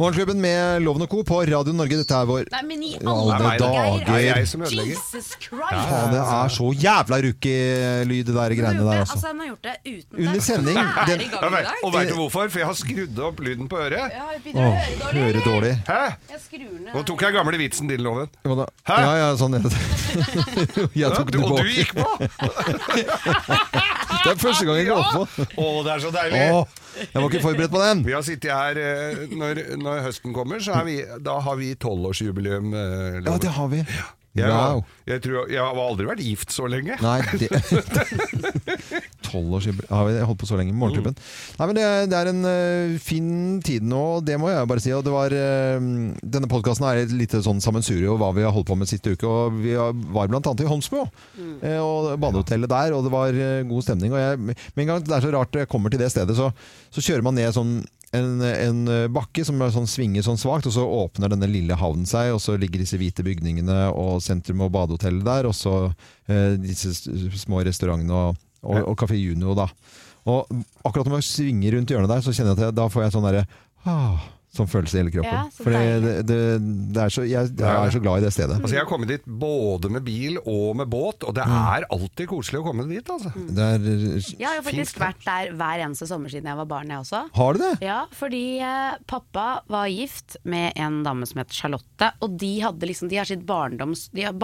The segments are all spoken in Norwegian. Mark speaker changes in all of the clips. Speaker 1: Morgenklubben med Loven og Co. på Radio Norge. Dette er vår
Speaker 2: Nei, men i
Speaker 1: I alle
Speaker 2: alle dager!
Speaker 1: dager.
Speaker 3: Det er jeg som ødelegger.
Speaker 2: Jesus Christ!
Speaker 1: Faen, det er så jævla rookie-lyd, det
Speaker 2: Han
Speaker 1: der
Speaker 2: har
Speaker 1: greiene
Speaker 2: gjort
Speaker 1: der,
Speaker 2: det,
Speaker 1: altså.
Speaker 2: altså, han har gjort det uten
Speaker 1: Under
Speaker 2: det.
Speaker 1: sending,
Speaker 2: Er
Speaker 1: den-
Speaker 2: i gang
Speaker 3: Ja,
Speaker 2: i
Speaker 3: vet,
Speaker 2: dag?
Speaker 3: og veit du hvorfor? For jeg har skrudd opp lyden på øret.
Speaker 2: Ja, altså, jeg begynner å
Speaker 1: Å,
Speaker 2: høre dårlig.
Speaker 1: høre dårlig.
Speaker 3: Hæ?
Speaker 2: Jeg skrur ned.
Speaker 3: Nå tok jeg gamle vitsen din, Loven.
Speaker 1: Hva da?
Speaker 3: Hæ?
Speaker 1: Ja, ja, sånn er det. Jeg
Speaker 3: Ja,
Speaker 1: tok
Speaker 3: du,
Speaker 1: den
Speaker 3: og du
Speaker 1: tilbake.
Speaker 3: gikk på!
Speaker 1: Det er første gang jeg går opp på.
Speaker 3: Å, det er så deilig!
Speaker 1: Å, jeg var ikke forberedt på den.
Speaker 3: Vi har sittet her eh, når, når høsten kommer, så er vi, da har vi tolvårsjubileum. eh, Loven.
Speaker 1: Ja, det har vi.
Speaker 3: Jeg,
Speaker 1: Wow.
Speaker 3: jeg, tror, jeg har aldri vært gift så lenge.
Speaker 1: Nei, det Tolv års jubileum Har vi holdt på så lenge? Morgenklubben. Nei, men det, er- det er en ø, fin tid nå, og det må jeg bare si. Og det var, ø, denne podkasten er et lite sånn sammensurium av hva vi har holdt på med siste uke. Og vi har- var blant annet i Holmsbo, eh, og badehotellet der, og det var ø, god stemning. Og jeg, med en gang det er så rart jeg kommer til det stedet, så, så kjører man ned sånn en, en bakke som er sånn, svinger sånn svakt, og så åpner denne lille havnen seg, og så ligger disse hvite bygningene og sentrum og badehotellet der, og så eh, disse s- små restaurantene og, og, og Café Juno da. Og akkurat når jeg svinger rundt hjørnet der, så kjenner jeg at jeg, da får jeg sånn derre ah, Sånn følelse i hele kroppen.
Speaker 2: Ja, så
Speaker 1: For det,
Speaker 2: deilig.
Speaker 1: det, det er så, jeg, jeg er så glad i det stedet.
Speaker 3: Altså, jeg har kommet dit både med bil og med båt, og det
Speaker 1: Mm.
Speaker 3: er alltid koselig å komme dit. Altså.
Speaker 1: Det er,
Speaker 2: Jeg har jo faktisk vært der hver eneste sommer siden jeg var barn, jeg også.
Speaker 1: har du det?
Speaker 2: Ja, fordi eh, pappa var gift med en dame som het Charlotte, og de hadde liksom, de har sitt barndoms, de har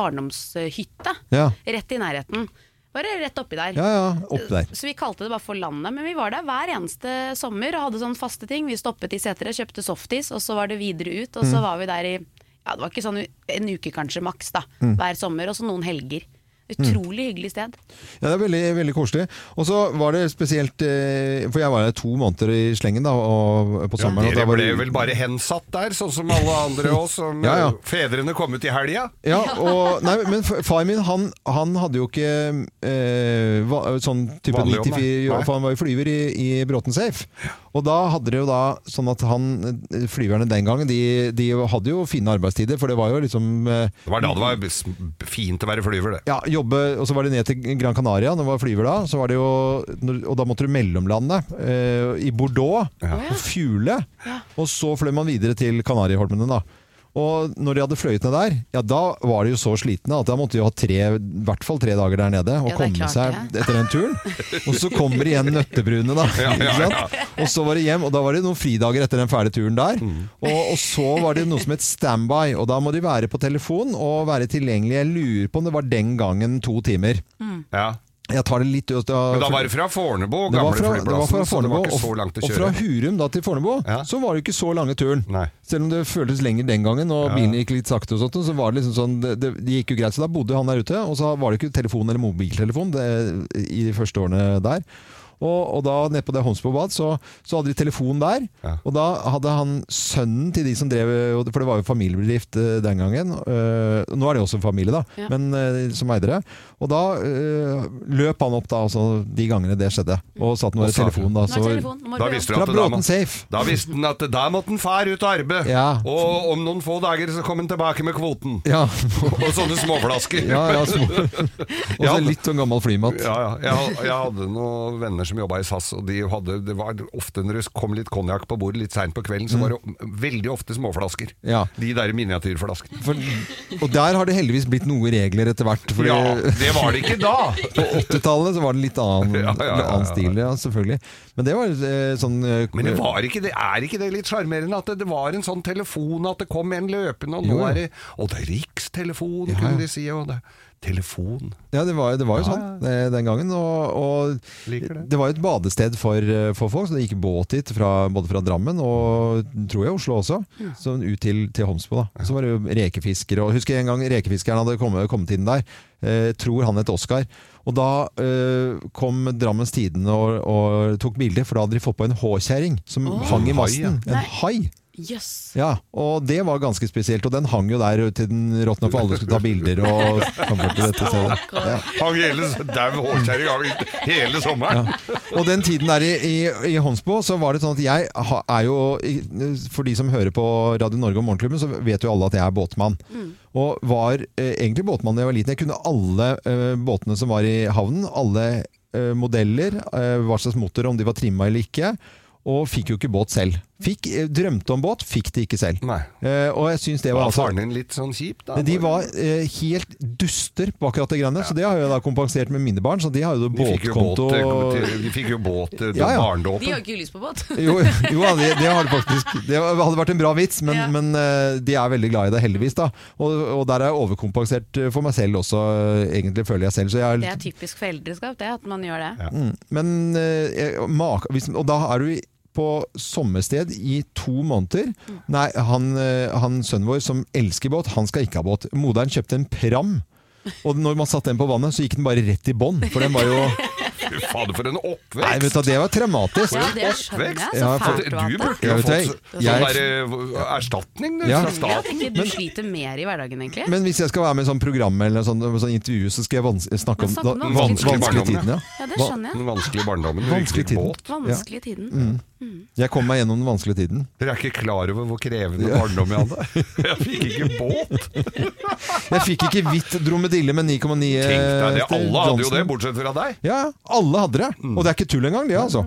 Speaker 2: barndomshytte
Speaker 1: Ja.
Speaker 2: rett i nærheten. Bare rett oppi der.
Speaker 1: Ja ja, opp der.
Speaker 2: Så vi kalte det bare for landet, men vi var der hver eneste sommer og hadde sånne faste ting. Vi stoppet i Setre, kjøpte softis, og så var det videre ut,
Speaker 1: Mm.
Speaker 2: og så var vi der i ja, det var ikke sånn u- en uke kanskje maks da,
Speaker 1: Mm.
Speaker 2: hver sommer, og så noen helger. Utrolig hyggelig sted.
Speaker 1: Ja, det er veldig, veldig koselig. Og så var det spesielt eh, For jeg var der to måneder i slengen da, og, på
Speaker 3: Ja,
Speaker 1: sommeren. og da
Speaker 3: dere
Speaker 1: var
Speaker 3: ble
Speaker 1: det-
Speaker 3: vel bare hensatt der, sånn som alle andre oss. Som
Speaker 1: Ja, ja.
Speaker 3: eh, Fedrene kom ut i helga.
Speaker 1: ja, og, nei, men f- far min han, han hadde jo ikke eh, va, sånn type
Speaker 3: Vanlig
Speaker 1: 94
Speaker 3: jobb, nei.
Speaker 1: jobb, for han var jo flyver i, i Bråten Safe. Og da hadde det jo da sånn at han eh, Flyverne den gangen, de, de hadde jo fine arbeidstider, for det var jo liksom eh,
Speaker 3: Det var da det var s- fint å være flyver, det.
Speaker 1: ja, jobbe, og så var det ned til Gran Canaria, når det var flyver da, så var det jo, når- og da måtte du mellomlande eh, i Bordeaux, og Fjule, og så fløy man videre til Kanariholmene da. Og når de hadde fløyet ned der, ja da var de jo så slitne at da måtte de jo ha tre, i hvert fall tre dager der nede, og
Speaker 2: Ja, det er
Speaker 1: komme
Speaker 2: klart
Speaker 1: seg etter den turen. Og så kommer igjen nøttebrune da, ikke sant? Og så var det hjem, og da var det noen fridager etter den fæle turen der.
Speaker 3: Mm.
Speaker 1: Og, og så var det noe som het standby, og da må de være på telefon og være tilgjengelige. Jeg lurer på om det var den gangen to timer.
Speaker 3: Ja.
Speaker 1: Jeg tar det litt ut av...
Speaker 3: Men da var det fra Fornebu,
Speaker 1: Det var
Speaker 3: gamle
Speaker 1: fra, det var
Speaker 3: flyplassen,
Speaker 1: fra
Speaker 3: så det
Speaker 1: Fornebu,
Speaker 3: var ikke så
Speaker 1: og,
Speaker 3: langt å
Speaker 1: og fra
Speaker 3: kjøre.
Speaker 1: Hurum da til Fornebu,
Speaker 3: Ja.
Speaker 1: så var det ikke så lange turen.
Speaker 3: Nei.
Speaker 1: Selv om det føltes lenger den gangen, og bilene gikk litt sakte, og sånt, så var det liksom sånn, det, det gikk jo greit. Så da bodde han der ute, og så var det ikke telefon eller mobiltelefon det, i de første årene der. Og, og da nede på det Holmsbo bad, så, så hadde de telefon der. Og da hadde han sønnen til de som drev For det var jo familiebedrift eh, den gangen. eh, nå er det jo også en familie, da,
Speaker 2: Ja.
Speaker 1: men eh, som eide det. Og da eh, løp han opp da, altså, de gangene det skjedde, og satt nå
Speaker 3: Og
Speaker 1: ved
Speaker 3: sa-
Speaker 1: telefonen. Da,
Speaker 2: Mm. Nå
Speaker 1: så,
Speaker 2: er telefonen, nå må
Speaker 3: Da
Speaker 2: vi
Speaker 3: visste du
Speaker 1: fra
Speaker 3: at da,
Speaker 1: Bråten Safe.
Speaker 3: da visste han at da måtte han far ut og arbeid.
Speaker 1: Ja.
Speaker 3: Og om noen få dager så kom han tilbake med kvoten.
Speaker 1: Ja,
Speaker 3: Og sånne småflasker.
Speaker 1: ja, ja så, Og så litt sånn gammel flymat.
Speaker 3: Ja, ja. Jeg, jeg hadde noen venner som jobba i SAS, og de hadde, det var ofte når det kom litt konjakk på bordet litt seint på kvelden, så var
Speaker 1: Mm.
Speaker 3: det veldig ofte småflasker.
Speaker 1: Ja.
Speaker 3: De der miniatyrflaskene.
Speaker 1: For, og der har det heldigvis blitt noen regler etter hvert. Fordi
Speaker 3: Ja, det var det ikke da!
Speaker 1: på 80-tallet så var det litt annen,
Speaker 3: Ja, ja, ja, ja.
Speaker 1: annen stil, ja, selvfølgelig. Men det var eh, sånn eh,
Speaker 3: Men det, var ikke det, er ikke det litt sjarmerende at det, det var en sånn telefon, at det kom en løpende, og
Speaker 1: Jo,
Speaker 3: nå
Speaker 1: ja.
Speaker 3: er det Og det er rikstelefon,
Speaker 1: Ja, ja.
Speaker 3: kunne de si. Og det, telefon.
Speaker 1: Ja, det var, det var jo sånn eh, den gangen. Og, og
Speaker 3: Liker
Speaker 1: det.
Speaker 3: det.
Speaker 1: var jo et badested for, eh, for folk, så det gikk båt hit fra, både fra Drammen og tror jeg Oslo også. Så ut til, til Homsbo, da. Så var det jo rekefiskere. Og husker jeg en gang rekefiskeren hadde kommet, kommet inn der. Eh, tror han het Oskar. Og da eh, kom Drammens Tidende og, og tok bilde, for da hadde de fått på en håkjerring som hang i masten. En hai.
Speaker 2: Jøss.
Speaker 1: Ja, og det var ganske spesielt. Og den hang jo der til den råtna for alle skulle ta bilder. og kom bort til dette stedet. Ja.
Speaker 3: Hang hele dau hårkjerring av hele sommeren.
Speaker 1: Og den tiden der i, i, i Hånsbo, så var det sånn at jeg ha- er jo i- For de som hører på Radio Norge og Morgenklubben, så vet jo alle at jeg er båtmann. Og var eh, egentlig båtmann da jeg var liten. Jeg kunne alle eh, båtene som var i havnen. Alle eh, modeller, eh, hva slags motor, om de var trimma eller ikke. Og fikk jo ikke båt selv. Fikk, eh, drømte om båt, fikk det ikke selv.
Speaker 3: Nei.
Speaker 1: Eh, og jeg syns det var
Speaker 3: Var
Speaker 1: altså
Speaker 3: faren din litt sånn kjip, da?
Speaker 1: men de var eh, helt duster på akkurat det greiene, så det har jeg da kompensert med mine barn. Så de har jo
Speaker 3: de fikk jo båt, eh,
Speaker 1: båtkonto
Speaker 3: til- de fikk jo båt eh, til
Speaker 1: Ja, ja.
Speaker 2: De
Speaker 3: barndåpen.
Speaker 2: har jo ikke lyst på båt.
Speaker 1: Jo, jo da, det, det, har det, faktisk, det hadde vært en bra vits, men,
Speaker 2: Ja.
Speaker 1: men eh, de er veldig glad i det, heldigvis. da Og, og der er jeg overkompensert eh, for meg selv også, eh, egentlig, føler jeg selv. Så jeg
Speaker 2: Det
Speaker 1: er,
Speaker 2: er typisk foreldreskap, det, at man gjør det.
Speaker 1: mm, men eh, jeg- maka- hvis, Og da er du i- på sommersted i to måneder.
Speaker 2: Mm.
Speaker 1: Nei, han, eh, han sønnen vår som elsker båt, han skal ikke ha båt. Moderen kjøpte en pram. Og når man satte den på vannet, så gikk den bare rett i bånn. For den var jo
Speaker 3: Fy fader, for en oppvekst!
Speaker 1: Nei, vet du, det var traumatisk.
Speaker 2: Ja, det skjønner jeg. Så
Speaker 1: Ja, for-
Speaker 2: fælt
Speaker 3: du
Speaker 2: du har hatt det.
Speaker 3: burde
Speaker 1: Jeg
Speaker 3: jo
Speaker 1: vet
Speaker 3: fått
Speaker 1: det.
Speaker 3: sånn
Speaker 1: Jeg-
Speaker 3: der, eh, erstatning du,
Speaker 1: Ja.
Speaker 3: fra
Speaker 2: Ja, at
Speaker 3: staten.
Speaker 2: ikke du sliter mer i hverdagen, egentlig.
Speaker 1: Men hvis jeg skal være med i sånn program eller sånn, sånn intervju, så skal jeg vans snakke om
Speaker 2: Men snakke om
Speaker 1: da-
Speaker 3: vanskelige
Speaker 1: vanskelige
Speaker 3: barndommer.
Speaker 1: tidene. Ja.
Speaker 2: Ja, det skjønner jeg.
Speaker 3: Den vanskelige barndommen. når du
Speaker 1: Vanskelig
Speaker 3: ikke fikk
Speaker 1: tiden.
Speaker 3: båt.
Speaker 2: Vanskelig tiden.
Speaker 1: Mm. Jeg kom meg gjennom den vanskelige tiden.
Speaker 3: Dere er ikke klar over hvor krevende barndom jeg hadde. Jeg fikk ikke båt!
Speaker 1: Jeg fikk ikke hvitt dromedille med 9,9
Speaker 3: Tenk deg det,
Speaker 1: etter
Speaker 3: Alle hadde jo
Speaker 1: eh, Johnson.
Speaker 3: det, Mm. bortsett fra deg.
Speaker 1: Ja, ja, alle hadde det. Og det er ikke tull engang, det, altså.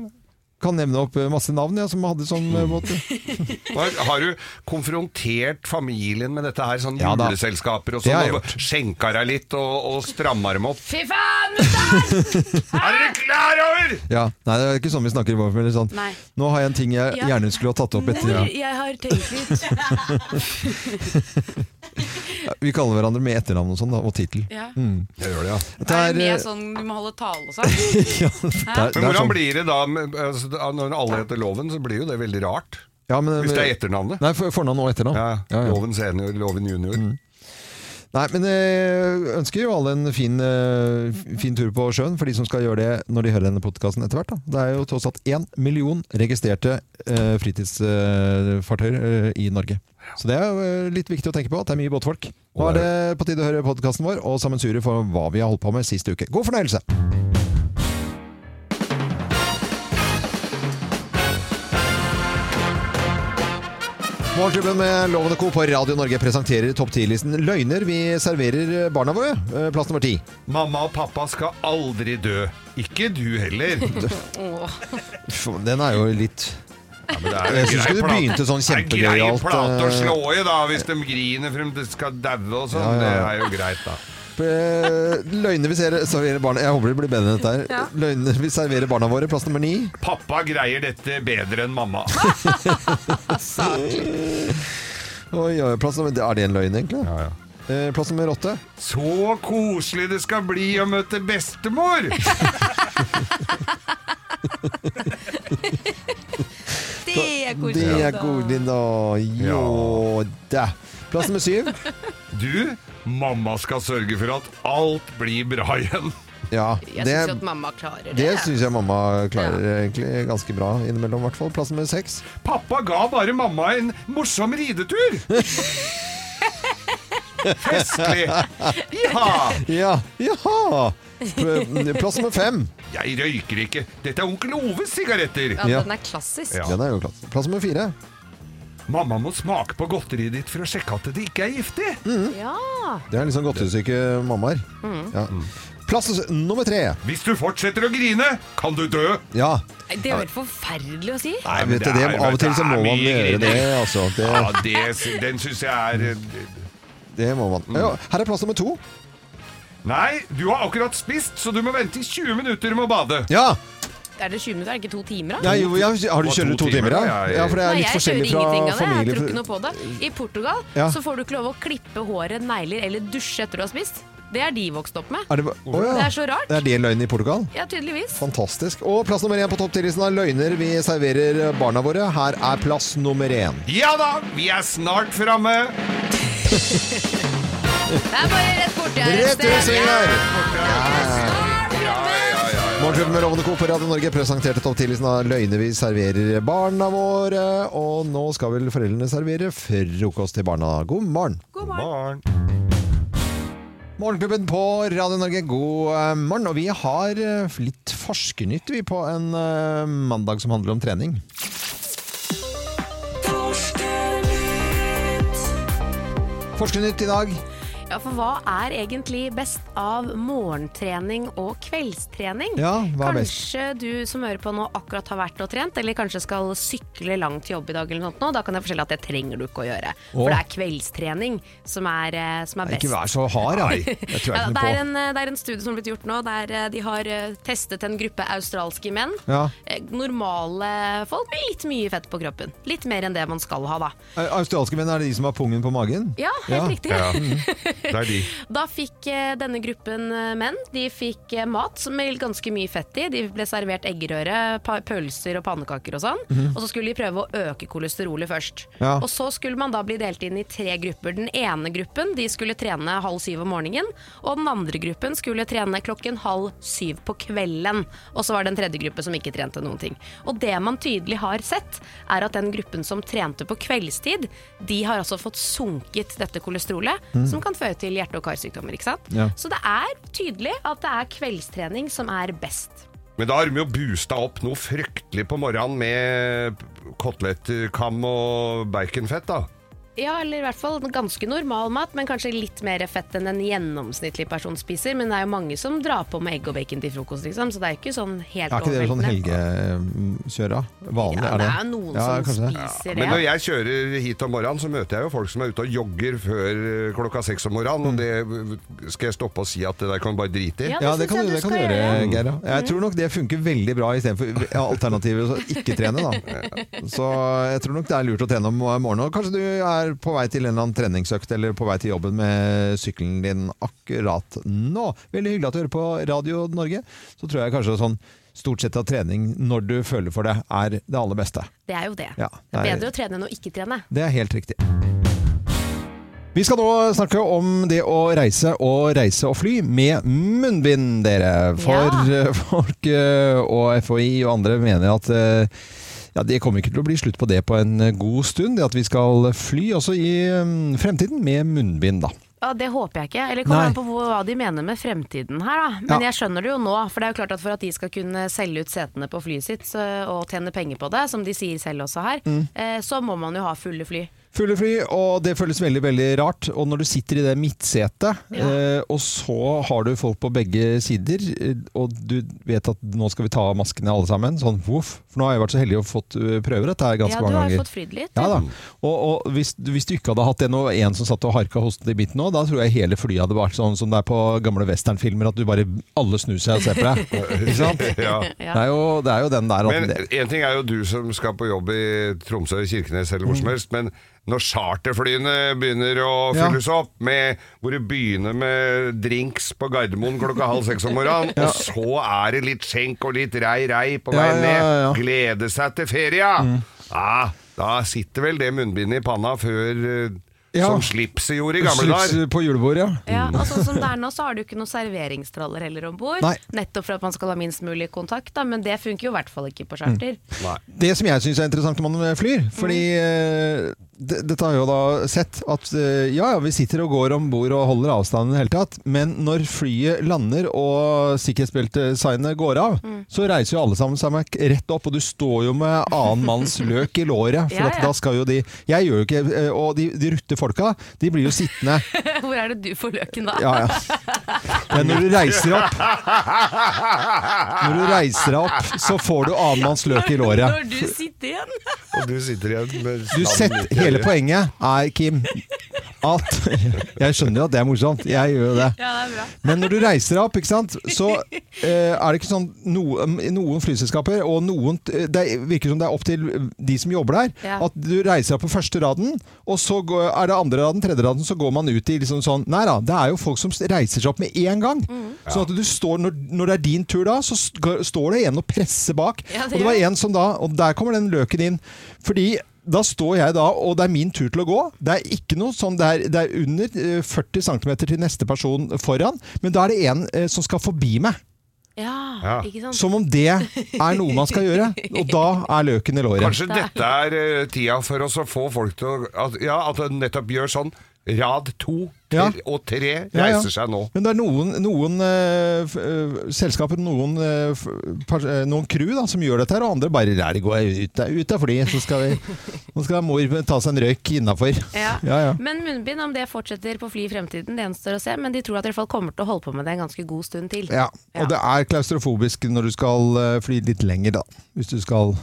Speaker 1: Kan nevne opp eh, masse navn ja, som hadde sånn
Speaker 3: Mm.
Speaker 1: eh, båt.
Speaker 3: Har, har du konfrontert familien med dette her, sånn
Speaker 1: Ja da.
Speaker 3: juleselskaper og
Speaker 1: Det har
Speaker 3: sånn,
Speaker 1: jeg
Speaker 3: og skjenka deg litt og, og stramma dem opp?
Speaker 2: Fy faen, mutter'n!
Speaker 3: Er dere klar over?!
Speaker 1: Ja. Nei, det er ikke sånn vi snakker i vår familie. Sånn.
Speaker 2: Nei.
Speaker 1: Nå har jeg en ting jeg
Speaker 2: Ja.
Speaker 1: gjerne skulle ha tatt opp etter.
Speaker 2: Mor, jeg har tenkt litt.
Speaker 1: Ja, Vi kaller hverandre med etternavn og sånn, da, og tittel. Mm.
Speaker 2: Ja.
Speaker 3: Jeg gjør det, ja.
Speaker 1: Det
Speaker 2: Er
Speaker 1: er,
Speaker 2: det
Speaker 1: eh,
Speaker 2: med sånn du må holde tale og sånn?
Speaker 1: ja, det er,
Speaker 3: Men
Speaker 1: det er
Speaker 3: hvordan
Speaker 1: sånn.
Speaker 3: blir det da med, altså, da- Når alle heter Loven, så blir jo det veldig rart.
Speaker 1: Ja, men- eh,
Speaker 3: Hvis det er etternavnet.
Speaker 1: Nei, for- fornavn og etternavn.
Speaker 3: Ja,
Speaker 1: Ja, Mm. ja.
Speaker 3: Loven senior, Loven junior.
Speaker 1: Nei, men jeg ønsker jo alle en fin, eh, fin tur på sjøen, for de som skal gjøre det når de hører denne podkasten etter hvert. Da. Det er jo tross alt én million registrerte eh, fritidsfartøyer eh, i Norge. Så det er jo eh, litt viktig å tenke på at det er mye båtfolk. Nå er det på tide å høre podkasten vår og sammensuriet for hva vi har holdt på med sist uke. God fornøyelse! Morgenklubben med Loven og Co. på Radio Norge presenterer topp 10-listen løgner vi serverer barna våre. Eh, Plass nummer ti.
Speaker 3: Mamma og pappa skal aldri dø. Ikke du heller.
Speaker 2: Åh.
Speaker 1: Uff, Den er jo litt
Speaker 3: Ja, men det er jo
Speaker 1: Jeg syns
Speaker 3: grei
Speaker 1: ikke det
Speaker 3: plate.
Speaker 1: begynte sånn
Speaker 3: Det er grei
Speaker 1: kjempegøyalt.
Speaker 3: plate å
Speaker 1: eh,
Speaker 3: slå i, da, hvis de griner frem til de skal daue og sånn.
Speaker 1: Ja, ja, ja.
Speaker 3: Det er jo greit, da.
Speaker 1: Eh, Løgner vi ser- serverer barna Jeg håper det blir bedre enn dette her.
Speaker 2: Ja.
Speaker 1: Løgner vi serverer barna våre, plass nummer ni.
Speaker 3: Pappa greier dette bedre enn mamma.
Speaker 1: Oi, oi, plass nummer, er det en løgn, egentlig?
Speaker 3: Ja, ja.
Speaker 1: Eh, Plass nummer åtte.
Speaker 3: Så koselig det skal bli å møte bestemor!
Speaker 2: Det er
Speaker 1: Det
Speaker 2: koselig.
Speaker 1: er koselig, da. Jo da. Plass nummer syv.
Speaker 3: Du, mamma skal sørge for at alt blir bra igjen.
Speaker 1: Ja,
Speaker 2: Jeg syns jo
Speaker 1: det
Speaker 2: at mamma klarer det.
Speaker 1: det syns jeg mamma klarer egentlig ganske bra innimellom. i hvert fall. Plass nummer seks.
Speaker 3: Pappa ga bare mamma en morsom ridetur! Festlig! Ja!
Speaker 1: Ja, jaha! Pl- Plass nummer fem.
Speaker 3: Jeg røyker ikke. Dette er onkel Oves sigaretter.
Speaker 2: Ja,
Speaker 1: Ja.
Speaker 2: den er klassisk.
Speaker 3: Ja.
Speaker 1: Den er jo klart. Plass nummer fire.
Speaker 3: Mamma må smake på godteriet ditt for å sjekke at det ikke er giftig.
Speaker 2: Ja.
Speaker 1: Det er liksom godterisyke mammaer.
Speaker 2: Mm.
Speaker 1: Ja. Plass nummer tre.
Speaker 3: Hvis du fortsetter å grine, kan du dø.
Speaker 1: Ja.
Speaker 2: Nei, Det er vel forferdelig å si.
Speaker 1: Nei,
Speaker 3: men
Speaker 1: vet du, det,
Speaker 3: er-
Speaker 1: av og til så må man
Speaker 3: det er mye
Speaker 1: gjøre det,
Speaker 3: grining.
Speaker 1: altså.
Speaker 3: Ja,
Speaker 1: Det,
Speaker 3: det, sy- den syns jeg er eh,
Speaker 1: det må man. Ja, her er plass nummer to.
Speaker 3: Nei, du har akkurat spist, så du må vente i 20 minutter med å bade.
Speaker 1: Ja!
Speaker 2: Er det 20 minutter, er det ikke to timer? da?
Speaker 1: ja jo, ja, har du
Speaker 3: Og
Speaker 1: kjører
Speaker 3: to
Speaker 1: to timer,
Speaker 3: timer,
Speaker 1: ja?
Speaker 3: ja, ja.
Speaker 1: Ja, for det er
Speaker 2: Nei,
Speaker 1: litt
Speaker 2: jeg kjører
Speaker 1: forskjellig fra
Speaker 2: ingenting av det. Jeg tror ikke
Speaker 1: familie.
Speaker 2: noe på det. I Portugal
Speaker 1: Ja.
Speaker 2: så får du ikke lov å klippe håret, negler eller dusje etter du har spist. Det er de vokst opp med.
Speaker 1: Er det, å, ja.
Speaker 2: Det er så rart.
Speaker 1: Det er det løgn i Portugal?
Speaker 2: Ja, tydeligvis.
Speaker 1: Fantastisk. Og plass nummer én på topp 10-listen av løgner vi serverer barna våre. Her er plass nummer én.
Speaker 3: Ja da, vi er snart framme.
Speaker 2: Det er bare rett borti her.
Speaker 1: Rett ut,
Speaker 2: Ja.
Speaker 1: svinger!
Speaker 3: Ja, ja, ja, ja.
Speaker 1: Morgenklubben med Lovende Co på Radio Norge presenterte topp 10-listen av løgner vi serverer barna våre. Og nå skal vel foreldrene servere frokost til barna. God morgen!
Speaker 3: Barn.
Speaker 1: Morgenklubben på Radio Norge, god eh, morgen. Og vi har eh, litt forskernytt vi på en eh, mandag som handler om trening. Forskernytt i dag.
Speaker 2: Ja, for hva er egentlig best av morgentrening og kveldstrening?
Speaker 1: Ja, hva er best?
Speaker 2: kanskje du som hører på nå akkurat har vært og trent, eller kanskje skal sykle langt til jobb i dag eller noe sånt nå, da kan jeg fortelle at det trenger du ikke å gjøre.
Speaker 1: Åh.
Speaker 2: For det er kveldstrening som er, eh, som er best.
Speaker 1: Ikke vær så hard, nei. Det tror
Speaker 2: Ja,
Speaker 1: jeg ikke
Speaker 2: det, er
Speaker 1: noe på.
Speaker 2: en, eh, det er en studie som har blitt gjort nå, der eh, de har eh, testet en gruppe australske menn.
Speaker 1: Ja.
Speaker 2: Eh, Normale folk med litt mye fett på kroppen. Litt mer enn det man skal ha, da.
Speaker 1: Eh, Australske menn, er det de som har pungen på magen?
Speaker 2: Ja, helt riktig.
Speaker 3: Ja, det er de.
Speaker 2: Da fikk eh, denne gruppen eh, menn De fikk eh, mat med ganske mye fett i. De ble servert eggerøre, pa- pølser og pannekaker og sånn. Og så skulle de prøve å øke kolesterolet først.
Speaker 1: Ja.
Speaker 2: Og så skulle man da bli delt inn i tre grupper. Den ene gruppen de skulle trene halv syv om morgenen. Og den andre gruppen skulle trene klokken halv syv på kvelden. Og så var det en tredje gruppe som ikke trente noen ting. Og det man tydelig har sett, er at den gruppen som trente på kveldstid, de har altså fått sunket dette kolesterolet, som kan føre til hjerte- og karsykdommer. ikke sant?
Speaker 1: Ja.
Speaker 2: Så det er tydelig at det er kveldstrening som er best.
Speaker 3: Men da har de jo boosta opp noe fryktelig på morgenen med kotelettkam og baconfett, da.
Speaker 2: Ja, eller i hvert fall ganske normal mat, men kanskje litt mer fett enn en gjennomsnittlig person spiser. Men det er jo mange som drar på med egg og bacon til frokost, liksom, så det er jo ikke sånn helt
Speaker 1: Er ikke det sånn helgekjøra? Vanlig
Speaker 2: Ja,
Speaker 1: er
Speaker 2: det
Speaker 1: det.
Speaker 2: er noen
Speaker 1: Ja,
Speaker 2: som
Speaker 1: kanskje det.
Speaker 2: spiser det.
Speaker 3: Men når jeg kjører hit om morgenen, så møter jeg jo folk som er ute og jogger før eh, klokka seks om morgenen, og det skal jeg stoppe og si at det der kan du bare drite i.
Speaker 2: Ja, det
Speaker 1: Ja,
Speaker 2: synes
Speaker 1: det kan
Speaker 2: jeg
Speaker 1: du,
Speaker 2: du
Speaker 1: det kan du
Speaker 2: skal
Speaker 1: gjøre,
Speaker 2: gjøre.
Speaker 1: Geir. ja. Jeg tror nok det funker veldig bra istedenfor alternativet å ikke trene, da. Så jeg tror nok det er lurt å trene om morgenen. Og kanskje du er på vei til en eller annen treningsøkt eller på vei til jobben med sykkelen din akkurat nå. Veldig hyggelig at du hører på Radio Norge. Så tror jeg kanskje sånn stort sett at trening når du føler for det, er det aller beste.
Speaker 2: Det er jo det.
Speaker 1: Ja,
Speaker 2: det
Speaker 1: det
Speaker 2: er
Speaker 1: er-
Speaker 2: bedre å trene enn å ikke trene.
Speaker 1: Det er helt riktig. Vi skal nå snakke om det å reise og reise og fly med munnbind, dere. For
Speaker 2: Ja.
Speaker 1: eh, folk eh, og FHI og andre mener at eh, ja, det kommer ikke til å bli slutt på det på en eh, god stund. Det at vi skal fly også i eh, fremtiden med munnbind, da.
Speaker 2: Ja, Det håper jeg ikke. Eller kommer
Speaker 1: Nei.
Speaker 2: an på hvor- hva de mener med fremtiden her, da. Men
Speaker 1: Ja.
Speaker 2: jeg skjønner det jo nå. For det er jo klart at for at de skal kunne selge ut setene på flyet sitt så- og tjene penger på det, som de sier selv også her,
Speaker 1: Mm.
Speaker 2: eh, så må man jo ha fulle fly.
Speaker 1: Fulle fly, og det føles veldig veldig rart. Og når du sitter i det midtsetet,
Speaker 2: Ja.
Speaker 1: eh, og så har du folk på begge sider, eh, og du vet at nå skal vi ta av maskene alle sammen, sånn voff. For nå har jeg vært så heldig å fått eh, prøve dette her
Speaker 2: Ja,
Speaker 1: ganske
Speaker 2: du
Speaker 1: mange
Speaker 2: har jo
Speaker 1: ganger.
Speaker 2: fått frydd litt.
Speaker 1: Ja da. Og, og hvis, hvis du ikke hadde hatt en og en som satt og harka hosten i biten nå, da tror jeg hele flyet hadde vært sånn som det er på gamle westernfilmer, at du bare alle snur seg og ser på deg. Ikke sant?
Speaker 3: Ja.
Speaker 1: Det, er jo, det er jo den der. at
Speaker 3: Men
Speaker 1: det-
Speaker 3: en ting er jo du som skal på jobb i Tromsø, Kirkenes eller hvor som helst, men når charterflyene begynner å
Speaker 1: Mm. Ja.
Speaker 3: fylles opp, med, hvor du begynner med drinks på Gardermoen klokka halv seks om morgenen, og så er det litt skjenk og litt rei, rei på
Speaker 1: Ja,
Speaker 3: vei
Speaker 1: ja,
Speaker 3: ned,
Speaker 1: ja, Mm. ja.
Speaker 3: glede seg til feria! Ah, da sitter vel det munnbindet i panna før eh,
Speaker 1: Ja.
Speaker 3: Som slipset gjorde i gamle
Speaker 1: Slips
Speaker 3: dager.
Speaker 1: på julebordet, ja.
Speaker 2: Ja, og sånn som det er nå, så har du ikke noen serveringstraller heller om bord.
Speaker 1: Mm. Nei.
Speaker 2: Nettopp for at man skal ha minst mulig kontakt, da, men det funker jo i hvert fall ikke på charter.
Speaker 1: Mm. Det som jeg syns er interessant når man flyr Fordi
Speaker 2: Mm.
Speaker 1: eh, det- dette har jeg jo da sett at eh, ja, ja, vi sitter og går om bord og holder avstanden i det hele tatt, men når flyet lander og sikkerhetsbeltesignet går av,
Speaker 2: Mm.
Speaker 1: så reiser jo alle sammen seg med- rett opp, og du står jo med annen manns løk i låret. For
Speaker 2: Ja,
Speaker 1: at
Speaker 2: ja.
Speaker 1: da skal jo de Jeg gjør jo ikke eh, Og de, de rutte folka, de blir jo sittende.
Speaker 2: Hvor er det du får løken da?
Speaker 1: Ja, ja. Men når du reiser opp Når du reiser deg opp, så får du annen manns løk i låret.
Speaker 2: Når du sitter igjen?
Speaker 3: Og du sitter igjen med
Speaker 1: Du setter, hele poenget er, Kim, at Jeg skjønner jo at det er morsomt, jeg gjør jo det.
Speaker 2: Ja, det er bra.
Speaker 1: Men når du reiser deg opp, ikke sant, så eh, er det ikke sånn noen, noen flyselskaper og noen Det virker som det er opp til de som jobber der,
Speaker 2: Ja.
Speaker 1: at du reiser deg på første raden, og så går, er det andre raden, tredje raden, så går man ut i liksom sånn Nei da, det er jo folk som reiser seg opp med en gang. Sånn at du står, når, når det er din tur da, så sk- står det en og presser bak.
Speaker 2: Ja, det
Speaker 1: og det var
Speaker 2: gjør.
Speaker 1: en som da Og der kommer den løken inn. Fordi da står jeg da, og det er min tur til å gå. Det er ikke noe sånn, det er, det er under eh, 40 cm til neste person foran, men da er det en eh, som skal forbi meg.
Speaker 2: Ja,
Speaker 3: Ja.
Speaker 2: ikke sant?
Speaker 1: Som om det er noe man skal gjøre. Og da er løken i låret.
Speaker 3: Kanskje dette er eh, tida for oss å få folk til å at, Ja, at det nettopp gjør sånn. Rad to
Speaker 1: Ja.
Speaker 3: til- og tre
Speaker 1: Ja, ja.
Speaker 3: reiser seg nå.
Speaker 1: Men det er noen, noen eh, f- eh, selskaper, noen, eh, f- pers- eh, noen crew da, som gjør dette her, og andre bare der går jeg ut, der, ut av fly, så skal vi, nå skal mor ta seg en røyk innafor.
Speaker 2: Ja.
Speaker 1: Ja, ja.
Speaker 2: Men munnbind, om det fortsetter på fly i fremtiden, det gjenstår å se. Men de tror at de i hvert fall kommer til å holde på med det en ganske god stund til.
Speaker 1: Ja,
Speaker 2: Ja.
Speaker 1: og det er klaustrofobisk når du skal eh, fly litt lenger, da. Hvis du skal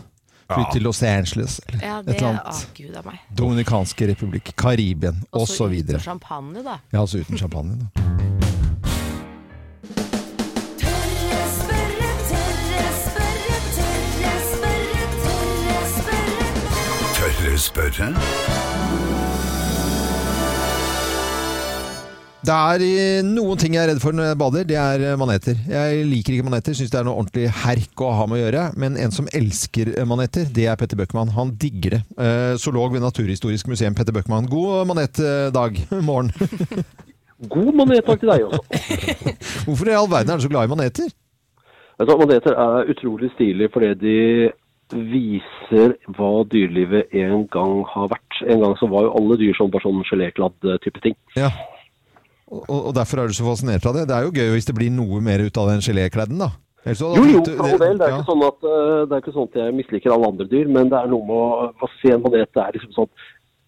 Speaker 1: fly
Speaker 3: Ja.
Speaker 1: til Los Angeles eller
Speaker 2: Ja,
Speaker 1: et
Speaker 2: det
Speaker 1: eller
Speaker 2: Å,
Speaker 1: annet.
Speaker 2: gud av meg.
Speaker 1: Dominikanske republikk, Karibien
Speaker 2: Og så
Speaker 1: osv.
Speaker 2: ut og Champagne, da.
Speaker 1: Ja, altså uten champagne, da.
Speaker 4: Tørre spørre, tørre spørre, tørre spørre, tørre spørre.
Speaker 5: Tørre spørre?
Speaker 1: Det er eh, noen ting jeg er redd for når jeg bader, det er eh, maneter. Jeg liker ikke maneter, syns det er noe ordentlig herk å ha med å gjøre. Men en som elsker eh, maneter, det er Petter Bøckmann. Han digger det. Eh, Zoolog ved Naturhistorisk museum, Petter Bøckmann. God manetdag. Morgen.
Speaker 6: God manetdag til deg også.
Speaker 1: Hvorfor i all verden er du så glad i maneter?
Speaker 6: Altså, maneter er utrolig stilige fordi de viser hva dyrelivet en gang har vært. En gang så var jo alle dyr sånn, bare sånn gelékladd eh, type ting.
Speaker 1: Ja. Og, og derfor er du så fascinert av det. Det er jo gøy hvis det blir noe mer ut av den gelékledden, da. Ellers så hadde
Speaker 6: Jo, jo,
Speaker 1: blitt-
Speaker 6: for all del. Det er
Speaker 1: ja.
Speaker 6: ikke sånn at, eh, det er ikke sånn at jeg misliker alle andre dyr, men det er noe med å hva si en manet. Det er liksom sånn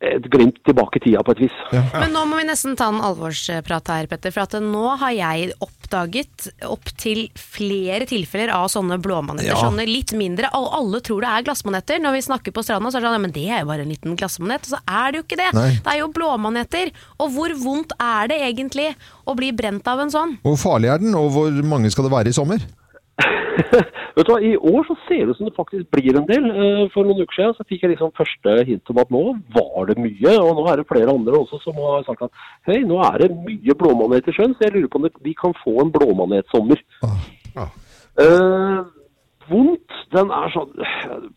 Speaker 6: et glimt tilbake i tida på et vis.
Speaker 2: Men nå må vi nesten ta en alvorsprat her, Petter. For at nå har jeg oppdaget opptil flere tilfeller av sånne blåmaneter.
Speaker 1: Ja.
Speaker 2: Sånne litt mindre. Og alle tror det er glassmaneter. Når vi snakker på stranda, så er det sånn ja, men det er jo bare en liten glassmanet. Og så er det jo ikke det.
Speaker 1: Nei.
Speaker 2: Det er jo blåmaneter. Og hvor vondt er det egentlig å bli brent av en sånn?
Speaker 1: Hvor farlig er den, og hvor mange skal det være i sommer?
Speaker 6: Vet du hva, I år så ser det ut som det faktisk blir en del. Eh, For noen uker siden så fikk jeg liksom første hint om at nå var det mye. Og nå er det flere andre også som har sagt at hei, nå er det mye blåmanet i sjøen, så jeg lurer på om det- vi kan få en blåmanetsommer. Eh, vondt, den er sånn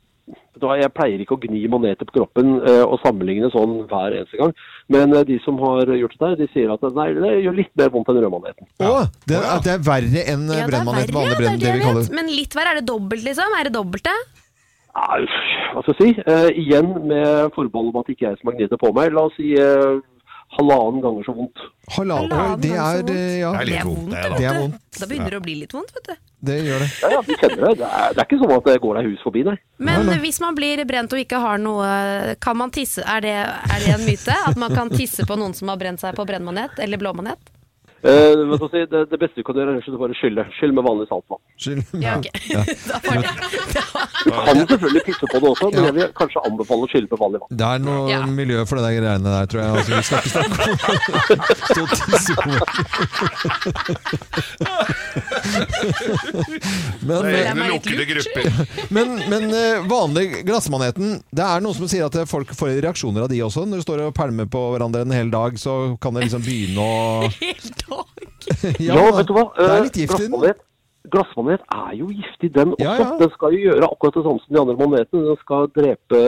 Speaker 6: Vet du hva, Jeg pleier ikke å gni maneter på kroppen eh, og sammenligne sånn hver eneste gang. Men eh, de som har gjort det der, de sier at nei, det gjør litt mer vondt enn rødmaneten.
Speaker 1: Å, det, er, det er verre enn ja, brennmanet med andre
Speaker 2: det
Speaker 1: brenn,
Speaker 2: er
Speaker 1: det
Speaker 2: det
Speaker 1: vi
Speaker 2: jeg
Speaker 1: kaller
Speaker 2: vet. Men litt verre. Er det dobbelt, liksom? Er det dobbelte?
Speaker 6: Nei, Hva skal jeg si? Eh, igjen med forbehold om at ikke jeg som har gnidd det på meg. La oss si eh, halvannen ganger så vondt.
Speaker 1: Halal,
Speaker 2: Halvannen
Speaker 1: det
Speaker 2: gang så
Speaker 1: er
Speaker 2: vondt.
Speaker 1: eh, Ja,
Speaker 3: Det er litt vondt, det,
Speaker 1: Det er
Speaker 3: da.
Speaker 2: vet du.
Speaker 1: vondt.
Speaker 2: Da begynner det å bli litt vondt, vet du.
Speaker 1: det gjør det.
Speaker 6: Ja, ja, du kjenner det. Det er, det er ikke sånn at det går deg hus forbi, nei.
Speaker 2: Men hvis man blir brent og ikke har noe Kan man tisse? Er det, er det en myte? At man kan tisse på noen som har brent seg på brennmanet eller blåmanet?
Speaker 6: Eh, hva skal jeg si? det, det beste du kan gjøre, er rett og slett å bare skylle. Skyll med vanlig saltvann.
Speaker 1: Skyld.
Speaker 2: Ja, ok. Da var det.
Speaker 6: Du kan selvfølgelig pisse på det også, men jeg vil kanskje anbefale å skylle med vanlig vann.
Speaker 1: Det er noe
Speaker 2: Ja.
Speaker 1: miljø for det der greiene der, tror jeg. Altså, vi skal ikke snakke om Stå og tisse på Men,
Speaker 3: Det er
Speaker 2: er
Speaker 3: egne
Speaker 2: meg litt
Speaker 3: lukkede
Speaker 2: lurt.
Speaker 3: grupper.
Speaker 1: men, men eh, vanlig glassmaneten Det er noen som sier at folk får reaksjoner av de også. Når du står og pælmer på hverandre en hel dag, så kan det liksom begynne å
Speaker 2: Helt ok.
Speaker 6: Ja, vet du hva?
Speaker 1: Det er
Speaker 6: Eh,
Speaker 1: litt gift i den.
Speaker 6: glassmanet- Glassmanet er jo giftig, den også.
Speaker 1: Ja, ja.
Speaker 6: Den skal jo gjøre akkurat det samme som de andre manetene. Den skal drepe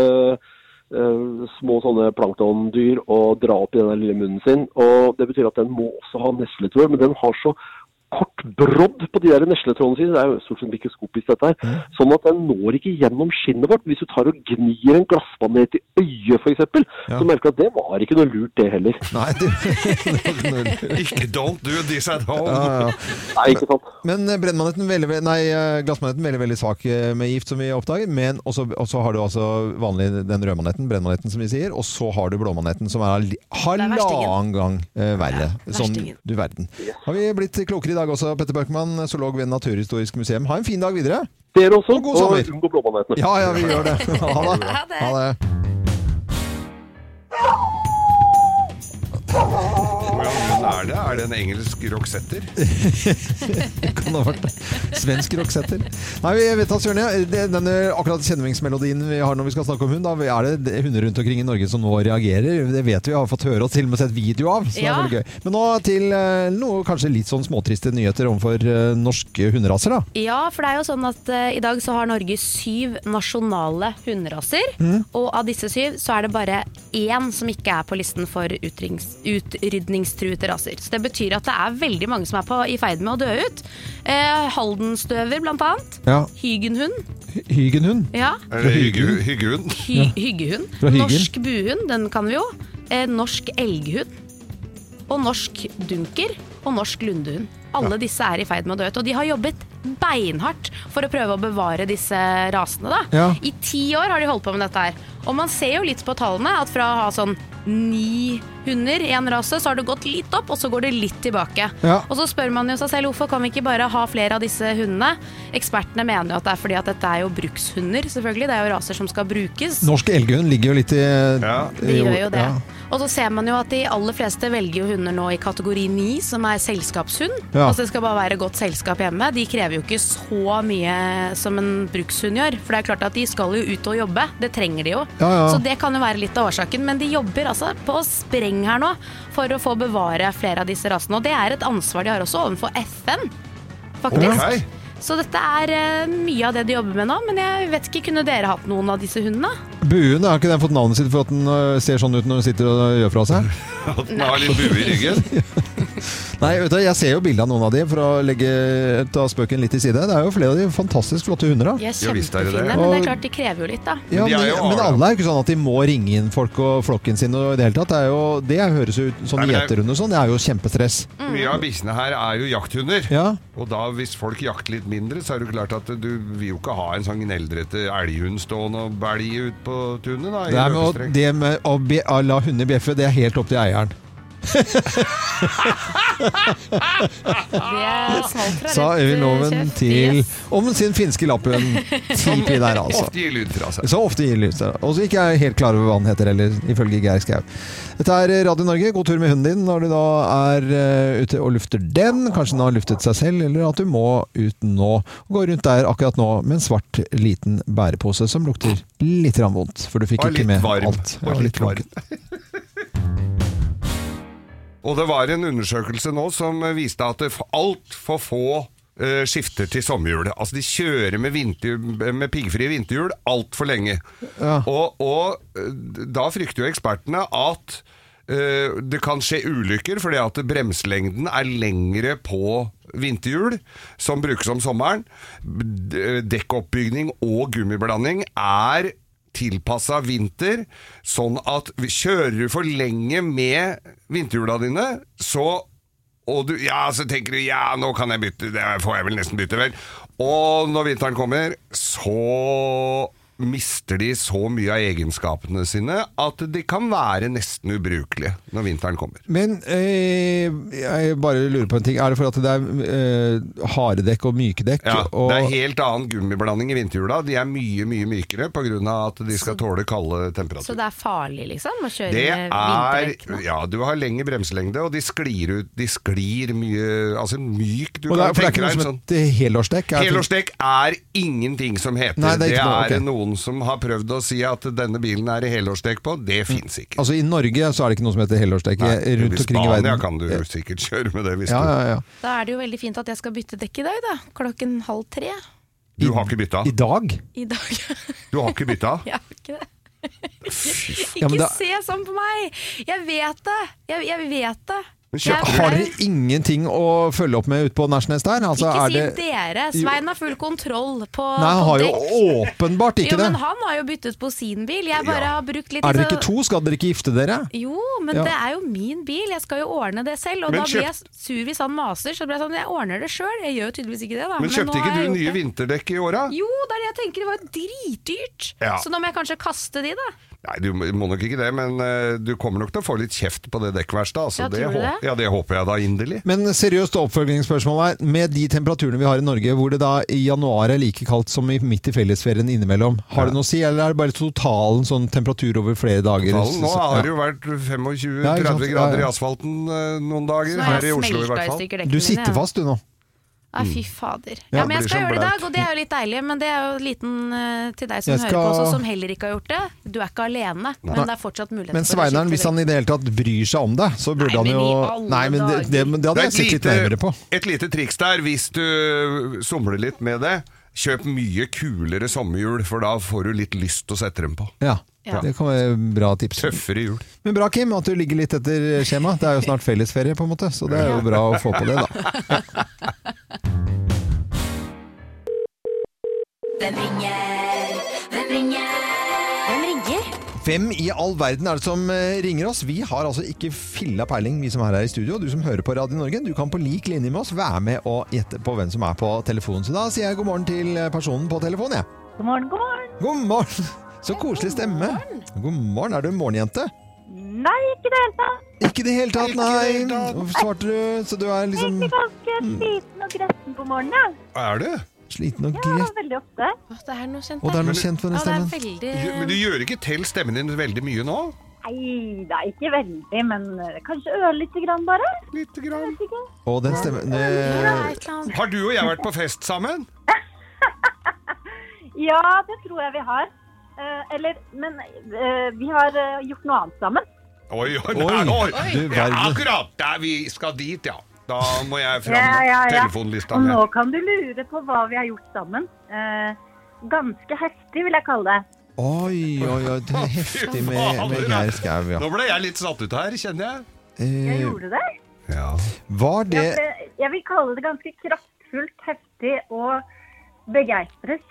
Speaker 6: eh, små sånne planktondyr og dra opp i den der lille munnen sin. Og Det betyr at den må også ha nesletråd, men den har så kort brodd på de der nesletrådene sine. Det er jo stort sett mikroskopisk, dette her. Sånn at den når ikke gjennom skinnet vårt. Hvis du tar og gnir en glassmanet i øyet, f.eks.,
Speaker 1: Ja.
Speaker 6: så merker du at det var ikke noe lurt, det heller.
Speaker 1: Nei, du, det er ikke noe-
Speaker 3: Ikke don't do this at home.
Speaker 6: Eh,
Speaker 1: ja, ja.
Speaker 6: Nei, ikke sant?
Speaker 1: Men eh, brennmaneten veldig, ve- nei, eh, glassmaneten veldig, veldig svak eh, med gift, som vi oppdager. Men og så og så har du altså vanlig den rødmaneten, brennmaneten, som vi sier. Og så har du blåmaneten, som er li- halvannen
Speaker 2: verstingen.
Speaker 1: gang eh, verre.
Speaker 2: Ja,
Speaker 1: Sånn,
Speaker 2: verstingen.
Speaker 1: du verden. Har vi blitt klokere i dag også, Petter Bøckmann, zoolog ved Naturhistorisk museum. Ha en fin dag videre!
Speaker 6: Dere også,
Speaker 1: Og god sommer.
Speaker 6: og unngå blåmanetene.
Speaker 1: Ja, ja, vi gjør det. Ha det.
Speaker 2: Ha det.
Speaker 1: Ha det.
Speaker 3: Hvordan er det? Er det en engelsk rocksetter?
Speaker 1: Kan det ha vært svensk rocksetter? Nei, vi vet da søren, ja. Det- Denne akkurat kjenningsmelodien vi har når vi skal snakke om hund, da er det hunder rundt omkring i Norge som nå reagerer. Det vet vi, har fått høre og til og med sett video av. Så
Speaker 2: Ja.
Speaker 1: det er veldig gøy. Men nå til eh, noe kanskje litt sånn småtriste nyheter overfor eh, norske hunderaser, da.
Speaker 2: Ja, for det er jo sånn at eh, i dag så har Norge syv nasjonale hunderaser. Og av disse syv så er det bare én som ikke er på listen for utrings, utrydningstruede raser. Så det betyr at det er veldig mange som er på, i ferd med å dø ut. Eh, Haldenstøver, blant annet.
Speaker 1: Ja.
Speaker 2: Hygenhund.
Speaker 1: Hygenhund.
Speaker 2: Ja.
Speaker 3: Eller hygge- Hyggehund.
Speaker 2: Hy Hyggehund.
Speaker 1: Fra Hyggen.
Speaker 2: Norsk buhund, den kan vi jo. Eh, norsk elghund. Og norsk dunker. Og norsk lundehund. Alle disse er i ferd med å dø ut. Og de har jobbet beinhardt for å prøve å bevare disse rasene. da.
Speaker 1: Ja.
Speaker 2: I ti år har de holdt på med dette her. Og man ser jo litt på tallene at fra å ha sånn ni hunder i en rase, så har det gått litt opp, og så går det litt tilbake.
Speaker 1: Ja.
Speaker 2: Og så spør man jo seg selv hvorfor kan vi ikke bare ha flere av disse hundene? Ekspertene mener jo at det er fordi at dette er jo brukshunder, selvfølgelig. Det er jo raser som skal brukes.
Speaker 1: Norsk elghund ligger jo litt i
Speaker 3: Ja.
Speaker 2: De gjør jo det.
Speaker 1: Ja.
Speaker 2: Og så ser man jo at de aller fleste velger jo hunder nå i kategori 9, som er selskapshund.
Speaker 1: Ja.
Speaker 2: Altså det skal bare være godt selskap hjemme. De krever jo ikke så mye som en brukshund gjør. For det er klart at de skal jo ut og jobbe. Det trenger de jo.
Speaker 1: Ja, ja.
Speaker 2: Så det kan jo være litt av årsaken. Men de jobber altså på spreng her nå for å få bevare flere av disse rasene. Og det er et ansvar de har også overfor FN, faktisk.
Speaker 3: Ok.
Speaker 2: Så dette er eh, mye av det de jobber med nå. Men jeg vet ikke, kunne dere hatt noen av disse hundene?
Speaker 1: Buen, har ikke den fått navnet sitt for at den øh, ser sånn ut når den sitter og gjør fra seg?
Speaker 3: At den har litt bue i ryggen.
Speaker 1: Nei, vet du, jeg ser jo bilde av noen av de, for å legge, ta spøken litt til side. Det er jo flere av de fantastisk flotte hunder, da.
Speaker 2: De er
Speaker 3: Ja, visst er det det.
Speaker 2: kjempefine, men det er klart de krever jo litt, da.
Speaker 1: Ja,
Speaker 3: Men de
Speaker 1: men,
Speaker 3: er jo
Speaker 1: men
Speaker 3: arne.
Speaker 1: alle er jo ikke sånn at de må ringe inn folk og flokken sin og i det hele tatt. Det, er jo, det høres jo ut som
Speaker 3: Nei, men det er-
Speaker 1: gjeterhund og sånn. Det er jo kjempestress.
Speaker 3: Mye av bikkjene her er jo jakthunder.
Speaker 1: Ja.
Speaker 3: Og da hvis folk jakter litt mindre, så er det jo klart at du vil jo ikke ha en sånn gneldrete elghund stående og bælje ut på tunet. Da, i
Speaker 1: Det, er med, å-
Speaker 3: løpestreng.
Speaker 1: det med å, be, å la hunder bjeffe, det er helt opp til eieren.
Speaker 2: Det smalt fra
Speaker 1: Sa
Speaker 2: rett, eh,
Speaker 1: Øyvind Loven
Speaker 2: kjeft.
Speaker 1: til
Speaker 2: Yes.
Speaker 1: om sin finske lapphund. Tipi der, altså.
Speaker 3: Ofte gir lyd fra seg.
Speaker 1: Så ofte gir lys. Og så ikke er jeg helt klar over hva han heter heller, ifølge Geir Skau. Dette er Radio Norge. God tur med hunden din når du da er eh, ute og lufter den. Kanskje den har luftet seg selv, eller at du må ut nå. Og gå rundt der akkurat nå med en svart liten bærepose som lukter litt grann vondt. For du fikk
Speaker 3: Og
Speaker 1: ikke
Speaker 3: litt
Speaker 1: med
Speaker 3: varm.
Speaker 1: alt.
Speaker 3: Og litt varm.
Speaker 1: lunken.
Speaker 3: Og det var en undersøkelse nå som viste at altfor få eh, skifter til sommerhjul. Altså de kjører med, vinter, med piggfrie vinterhjul altfor lenge. Og, og eh, da frykter jo ekspertene at eh, det kan skje ulykker fordi at bremselengden er lengre på vinterhjul, som brukes om sommeren. D- Dekkoppbygning og gummiblanding er tilpassa vinter, sånn at vi- kjører du for lenge med vinterhjula dine, så og du, ja, så tenker du ja, nå kan jeg bytte, det får jeg vel nesten bytte, vel. Og når vinteren kommer, så mister de så mye av egenskapene sine at de kan være nesten ubrukelige når vinteren kommer.
Speaker 1: Men eh, jeg bare lurer på en ting. Er det for at det er eh, harde dekk og myke dekk?
Speaker 3: Ja,
Speaker 1: og,
Speaker 3: det er helt annen gummiblanding i vinterhjula. De er mye, mye mykere pga. at de skal tåle kalde temperaturer.
Speaker 2: Så det er farlig, liksom, å kjøre
Speaker 3: Det
Speaker 2: med vinterdekk
Speaker 3: er
Speaker 2: nå?
Speaker 3: Ja, du har lengre bremselengde, og de sklir ut De sklir mye Altså myk Du
Speaker 1: og det er,
Speaker 3: kan
Speaker 1: for det er
Speaker 3: tenke
Speaker 1: ikke noe
Speaker 3: deg
Speaker 1: som
Speaker 3: en sånn
Speaker 1: et helårsdekk? Er det-
Speaker 3: Helårsdekk er ingenting som heter.
Speaker 1: Nei, det er
Speaker 3: det
Speaker 1: ikke
Speaker 3: er
Speaker 1: noe, ok.
Speaker 3: noen som har prøvd å si at denne bilen er det helårsdekk på. Det fins ikke.
Speaker 1: Altså I Norge så er det ikke noe som heter helårsdekk. eh, Rundt
Speaker 3: I
Speaker 1: omkring i
Speaker 3: Spania
Speaker 1: verden.
Speaker 3: kan du sikkert kjøre med det hvis
Speaker 1: Ja, ja, ja.
Speaker 2: Da er det jo veldig fint at jeg skal bytte dekk i dag, da. Klokken halv tre
Speaker 3: du Du har ikke bytta.
Speaker 1: I dag?
Speaker 2: i dag. Jeg
Speaker 3: Du har ikke bytta.
Speaker 2: har ikke det. Ikke
Speaker 1: Ja, men da-
Speaker 2: se sånn på meg! Jeg vet det! Jeg, jeg vet det.
Speaker 3: Men
Speaker 2: Jeg
Speaker 3: kjøpte
Speaker 2: er
Speaker 3: du-
Speaker 1: Har
Speaker 2: flau.
Speaker 1: dere ingenting å følge opp med ute på Nesjnes der? Altså,
Speaker 2: Ikke
Speaker 1: er
Speaker 2: si
Speaker 1: det...
Speaker 2: dere. Svein har full kontroll på,
Speaker 1: Nei, han
Speaker 2: på
Speaker 1: har
Speaker 2: dekk.
Speaker 1: jo åpenbart ikke
Speaker 2: jo,
Speaker 1: det.
Speaker 2: men han har jo byttet på sin bil. Jeg bare
Speaker 3: Ja.
Speaker 2: har brukt litt
Speaker 1: Er dere
Speaker 2: så-
Speaker 1: ikke to? Skal dere ikke gifte dere?
Speaker 2: Jo, men
Speaker 1: Ja.
Speaker 2: det er jo min bil, jeg skal jo ordne det selv. Og
Speaker 3: Men
Speaker 2: da blir jeg sur hvis han maser, så blir jeg sånn, jeg ordner det sjøl. Jeg gjør jo tydeligvis ikke det, da.
Speaker 3: Men kjøpte
Speaker 2: nå har
Speaker 3: ikke
Speaker 2: jeg
Speaker 3: du
Speaker 2: gjort
Speaker 3: nye
Speaker 2: det.
Speaker 3: vinterdekk i åra?
Speaker 2: Jo, det er det jeg tenker, det var jo dritdyrt.
Speaker 3: Ja.
Speaker 2: Så nå må jeg kanskje kaste de, da.
Speaker 3: Nei, du må nok ikke det, men eh, du kommer nok til å få litt kjeft på det dekkverkstedet. Altså,
Speaker 2: Ja,
Speaker 3: det,
Speaker 2: tror du
Speaker 3: håp-
Speaker 2: det?
Speaker 3: ja, det håper jeg da inderlig.
Speaker 1: Men seriøst oppfølgingsspørsmål her. Med de temperaturene vi har i Norge, hvor det da i januar er like kaldt som i midt i fellesferien innimellom, har det noe å si, eller er det bare totalen sånn temperatur over flere dager?
Speaker 3: Totalen. Nå
Speaker 1: Ja.
Speaker 3: har det jo vært
Speaker 1: Ja, ikke sant?
Speaker 3: 25-30
Speaker 1: Ja,
Speaker 3: grader i
Speaker 1: ja.
Speaker 3: asfalten eh, noen dager.
Speaker 2: Så har
Speaker 3: Her i
Speaker 2: jeg
Speaker 3: Oslo i
Speaker 2: smelta
Speaker 3: hvert fall.
Speaker 2: stykker dekkene
Speaker 1: Du
Speaker 2: mine,
Speaker 1: sitter
Speaker 2: ja.
Speaker 1: fast du nå.
Speaker 2: Ja, fy fader.
Speaker 1: Ja,
Speaker 2: Ja, men
Speaker 3: blir
Speaker 2: jeg skal
Speaker 3: som
Speaker 2: gjøre det i
Speaker 3: blaut.
Speaker 2: dag, og det er jo litt deilig. Men det er jo liten eh, til deg som
Speaker 1: Jeg
Speaker 2: hører på
Speaker 1: skal-
Speaker 2: også, som heller ikke har gjort det. Du er ikke alene, men det er fortsatt mulighet
Speaker 1: Men Sveineren, hvis han i det hele tatt bryr seg om deg, så
Speaker 2: Nei,
Speaker 1: burde han
Speaker 2: men
Speaker 1: jo
Speaker 2: i alle
Speaker 1: Nei, men det, det,
Speaker 2: dager.
Speaker 1: det hadde jeg sett litt nærmere på.
Speaker 3: et lite triks der, hvis du somler litt med det. Kjøp mye kulere sommerhjul, for da får du litt lyst til å sette dem på.
Speaker 1: Ja.
Speaker 2: Ja.
Speaker 1: Det kan være bra tips.
Speaker 3: Tøffere jul.
Speaker 1: Men bra, Kim, at du ligger litt etter skjema. Det er jo snart fellesferie, på en måte, så det er jo bra å få på det, da.
Speaker 4: Hvem ringer? Hvem ringer? Hvem ringer?
Speaker 1: Hvem i all verden er det som eh, ringer oss? Vi har altså ikke filla peiling, vi som er her i studio. Du som hører på Radio Norge, du kan på lik linje med oss være med og gjette på hvem som er på telefonen. Så da sier jeg god morgen til eh, personen på telefonen, jeg.
Speaker 5: God morgen, god morgen.
Speaker 1: God morgen! Så koselig stemme. God morgen. Er du en morgenjente?
Speaker 5: Nei, ikke det hele tatt.
Speaker 1: Ikke i det hele tatt,
Speaker 3: Ikke i
Speaker 1: nei.
Speaker 3: det hele tatt.
Speaker 1: Hvorfor svarte du? Så du er liksom
Speaker 5: Egentlig ganske sliten og gretten på morgenen.
Speaker 3: Er du?
Speaker 1: sliten og
Speaker 5: Ja, ja
Speaker 1: grett.
Speaker 5: veldig ofte.
Speaker 2: Åh, det er noe kjent
Speaker 1: Og det er
Speaker 3: Men
Speaker 1: noe
Speaker 3: du-
Speaker 1: kjent for
Speaker 2: Ja,
Speaker 1: den
Speaker 2: det er
Speaker 1: stemmen.
Speaker 5: Eh.
Speaker 3: Gjø- Men du
Speaker 2: veldig
Speaker 3: gjør ikke til stemmen din veldig mye nå?
Speaker 5: Nei, det er ikke veldig, men eh, kanskje ørlite grann bare.
Speaker 3: Litt grann.
Speaker 5: Vet ikke.
Speaker 1: Og den
Speaker 2: Det
Speaker 1: stemmen det-
Speaker 2: er et eller annet.
Speaker 3: Har du og jeg vært på fest sammen?
Speaker 5: Ja, det tror jeg vi har. Eh, eller, men eh, vi har eh, gjort noe annet sammen.
Speaker 3: Oi, oi,
Speaker 1: Oi,
Speaker 3: nei, oi.
Speaker 1: du
Speaker 3: Ja,
Speaker 1: verden.
Speaker 3: akkurat der vi skal dit, ja. Da må jeg fram
Speaker 5: Ja, ja, ja.
Speaker 3: telefonlista.
Speaker 5: Og
Speaker 3: mi.
Speaker 5: nå kan du lure på hva vi har gjort sammen. Eh, ganske heftig, vil jeg kalle det.
Speaker 1: Oi, oi, oi. Det er heftig med, med Geir Skau, ja.
Speaker 3: Nå ble jeg litt satt ut her, kjenner jeg.
Speaker 5: Jeg
Speaker 1: Eh,
Speaker 5: gjorde det.
Speaker 3: Ja.
Speaker 1: var
Speaker 5: Ja,
Speaker 1: det
Speaker 5: for Jeg vil kalle det ganske kraftfullt, heftig og begeistret.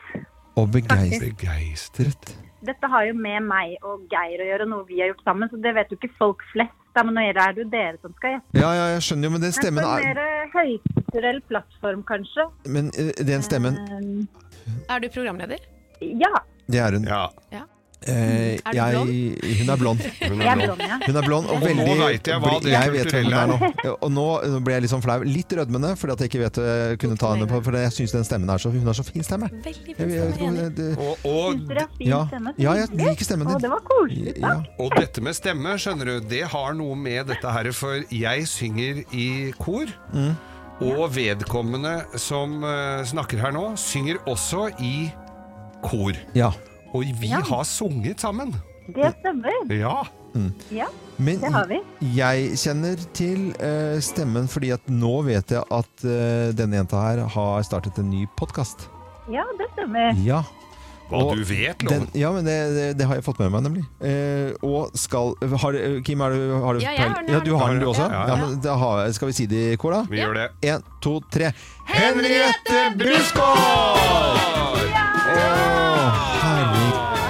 Speaker 1: å begeistre
Speaker 3: Begeistret.
Speaker 5: Dette har jo med meg og Geir å gjøre, noe vi har gjort sammen, så det vet jo ikke folk flest. Da, men nå er det jo dere som skal gjette.
Speaker 1: Ja, ja, jeg skjønner jo, men den
Speaker 5: Men
Speaker 1: stemmen
Speaker 5: på en
Speaker 1: er
Speaker 5: mer eh, høykulturell plattform, kanskje.
Speaker 1: Men eh, den stemmen,
Speaker 5: Um,
Speaker 2: Er du programleder?
Speaker 5: Ja,
Speaker 1: det er hun.
Speaker 3: Ja.
Speaker 1: Eh,
Speaker 2: Er du
Speaker 1: jeg, hun er blond.
Speaker 5: jeg er blond, ja.
Speaker 1: Hun er blond og
Speaker 3: Og nå
Speaker 1: veldig
Speaker 3: vet jeg hva det
Speaker 1: Jeg vet hvem hun er
Speaker 3: kulturelle
Speaker 1: nå. Og nå nå ble jeg litt sånn flau. Litt rødmende, fordi at jeg ikke vet jeg kunne ta henne på For jeg syns den stemmen er så Hun har så fin stemme.
Speaker 2: Veldig
Speaker 1: Jeg,
Speaker 2: fint.
Speaker 1: jeg, vet ikke om
Speaker 2: enig.
Speaker 1: det- det-
Speaker 3: Og, og,
Speaker 5: Dere har fin
Speaker 1: ja,
Speaker 5: stemme. så
Speaker 1: ja, jeg
Speaker 5: hyggelig.
Speaker 1: liker stemmen
Speaker 5: Å,
Speaker 1: din.
Speaker 5: det var koselig. da.
Speaker 1: Ja.
Speaker 3: og dette med stemme, skjønner du, det har noe med dette her, for jeg synger i kor.
Speaker 1: Mm.
Speaker 3: Og vedkommende som eh, snakker her nå, synger også i kor.
Speaker 1: ja.
Speaker 3: Og vi har sunget sammen.
Speaker 5: Det stemmer.
Speaker 3: Ja.
Speaker 5: Ja,
Speaker 1: Men
Speaker 5: det har vi.
Speaker 1: jeg kjenner til eh, stemmen fordi at nå vet jeg at eh, denne jenta her har startet en ny podkast.
Speaker 5: Ja, det stemmer.
Speaker 1: Ja.
Speaker 3: Hva
Speaker 1: Og
Speaker 3: du vet,
Speaker 1: Den,
Speaker 3: Loven.
Speaker 1: ja, men det, det, det har jeg fått med meg, nemlig. Eh, og skal har, du- Kim, har du, har du
Speaker 2: Ja, jeg har den, jeg
Speaker 1: Ja,
Speaker 2: har
Speaker 1: du
Speaker 2: den.
Speaker 1: har den, du også?
Speaker 3: Ja,
Speaker 1: Ja,
Speaker 3: ja.
Speaker 1: men da har, skal vi si det i kor, da?
Speaker 3: Vi gjør det.
Speaker 1: Én, to, tre.
Speaker 3: Henriette Brusgaard!
Speaker 1: Herregud.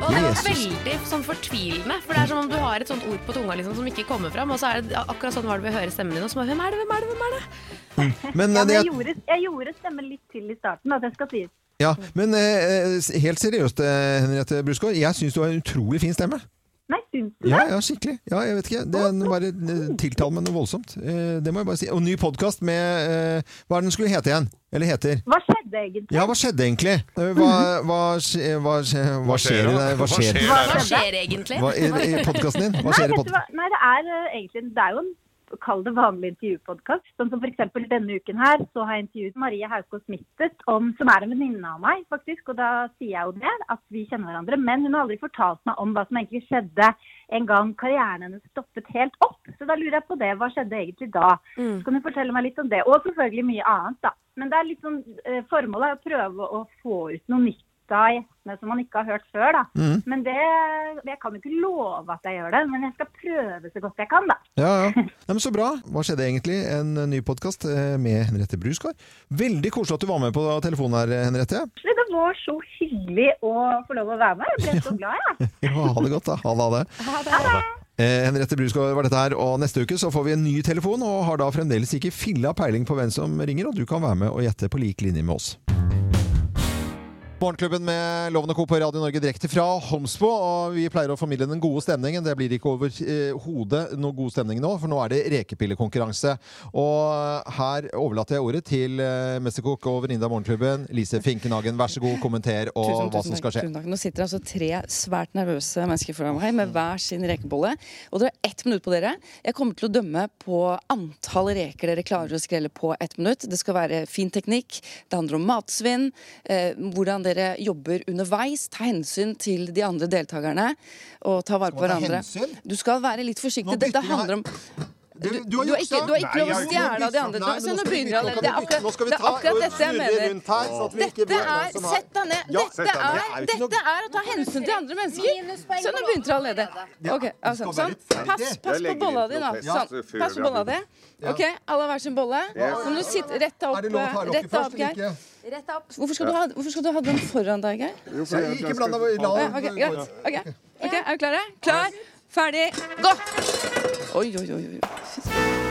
Speaker 2: Og det er
Speaker 1: Jesus.
Speaker 2: veldig sånn fortvilende, for det er som om du har et sånt ord på tunga liksom, som ikke kommer fram, og så er det akkurat sånn var det ved å høre stemmen din, og så bare Hvem er det, hvem er det, hvem er det?
Speaker 1: Men,
Speaker 5: Ja,
Speaker 1: eh,
Speaker 5: men
Speaker 1: det,
Speaker 5: jeg, gjorde, jeg gjorde stemmen litt til i starten, at jeg skal sies.
Speaker 1: ja, men eh, eh, helt seriøst, eh, Henriette Brusgaard, jeg syns du har en utrolig fin stemme.
Speaker 5: Nei, syns du
Speaker 1: Ja,
Speaker 5: det?
Speaker 1: ja, skikkelig. Ja, jeg vet ikke. Det er bare eh, tiltaler meg noe voldsomt. Eh, Det må jeg bare si. Og ny podkast med eh, Hva er den skulle hete igjen? Eller heter?
Speaker 5: Hva skjedde egentlig?
Speaker 1: Ja, hva skjedde egentlig? Eh, Hva, hva, skje, hva, skje, hva skjer i
Speaker 3: da?
Speaker 1: deg? Hva skjer?
Speaker 3: der?
Speaker 2: Hva skjer egentlig?
Speaker 1: Hva, I i podkasten din? Hva
Speaker 5: Nei,
Speaker 1: skjer i
Speaker 5: vet du
Speaker 1: podkasten?
Speaker 5: hva? Nei, det er eh, egentlig Det er jo en Kall det vanlig intervjupodkast. Sånn som f.eks. denne uken her, så har jeg intervjuet Marie Haukås Mittet, om, som er en venninne av meg, faktisk. Og da sier jeg jo det, at vi kjenner hverandre. Men hun har aldri fortalt meg om hva som egentlig skjedde en gang karrieren hennes stoppet helt opp. Så da lurer jeg på det. Hva skjedde egentlig da?
Speaker 1: Mm.
Speaker 5: Så kan du fortelle meg litt om det. Og selvfølgelig mye annet, da. Men det er litt sånn, eh, formålet er å prøve å få ut noe nytt av gjestene som man ikke har hørt før. Da. Men det, Jeg kan jo ikke love at jeg gjør det, men jeg skal prøve så godt jeg kan. da.
Speaker 1: Ja, ja. Nei, men så bra. Hva skjedde egentlig? En eh, ny podkast med Henriette Brusgaard. Veldig koselig at du var med på telefonen her, eh, Henriette.
Speaker 5: Så Det var så hyggelig å få lov å være med. Jeg ble så glad, jeg.
Speaker 1: Ja, ha det godt, da. Ha det. Ha det. Eh, Henriette Brusgaard var dette her, og neste uke så får vi en ny telefon, og har da fremdeles ikke filla peiling på hvem som ringer, og du kan være med og gjette på lik linje med oss. Morgenklubben med Loven og Co. på Radio Norge direkte fra Holmsbo. Og vi pleier å formidle den gode stemningen. Det blir ikke over eh, hodet noe god stemning nå, for nå er det rekepillekonkurranse. Og her overlater jeg ordet til eh, mesterkokk og venninne av Morgenklubben, Lise Finkenhagen. Vær så god, kommenter og
Speaker 7: Tusen,
Speaker 1: hva
Speaker 7: tusen
Speaker 1: som
Speaker 7: takk,
Speaker 1: skal skje.
Speaker 7: tusen takk. Nå sitter det altså tre svært nervøse mennesker foran meg med hver sin rekebolle. Og dere har ett minutt på dere. Jeg kommer til å dømme på antall reker dere klarer å skrelle på ett minutt. Det skal være fin teknikk. Det handler om matsvinn. Eh, hvordan dere jobber underveis. Ta hensyn til de andre deltakerne. Og ta vare på
Speaker 1: Skal man ta
Speaker 7: hverandre.
Speaker 1: hensyn?
Speaker 7: Du skal være litt forsiktig.
Speaker 1: Nå bytter
Speaker 7: Dette
Speaker 1: vi her.
Speaker 7: handler om
Speaker 1: Du, sånn.
Speaker 7: Du, du har ikke, du har ikke lov å stjele av de andre. Du, så nå begynner han. Det er akkurat, det er akkurat dette jeg mener. Dette er Sett deg ned.
Speaker 1: Ja,
Speaker 7: Dette
Speaker 1: sett deg ned.
Speaker 7: er,
Speaker 1: Det er jo ikke
Speaker 7: dette er å ta hensyn til andre mennesker.
Speaker 8: Minuspoeng
Speaker 7: Så
Speaker 8: på
Speaker 7: nå
Speaker 8: lov.
Speaker 7: begynte du allerede. Ok, altså, sånn. Pass, pass på bolla di, da.
Speaker 1: eh,
Speaker 7: Sånn. Pass på bolla di. Ok, alle har hver sin bolle. Så må du sitte rett opp, eh, rett opp Geir.
Speaker 8: Rett opp.
Speaker 7: Hvorfor skal du ha, hvorfor skal du ha den foran deg, Geir?
Speaker 1: Ikke bland deg
Speaker 7: Ja, Ok, greit. Ok, Ok, er du klare? Klar, ferdig, gå! Oi, oi, oi. oi.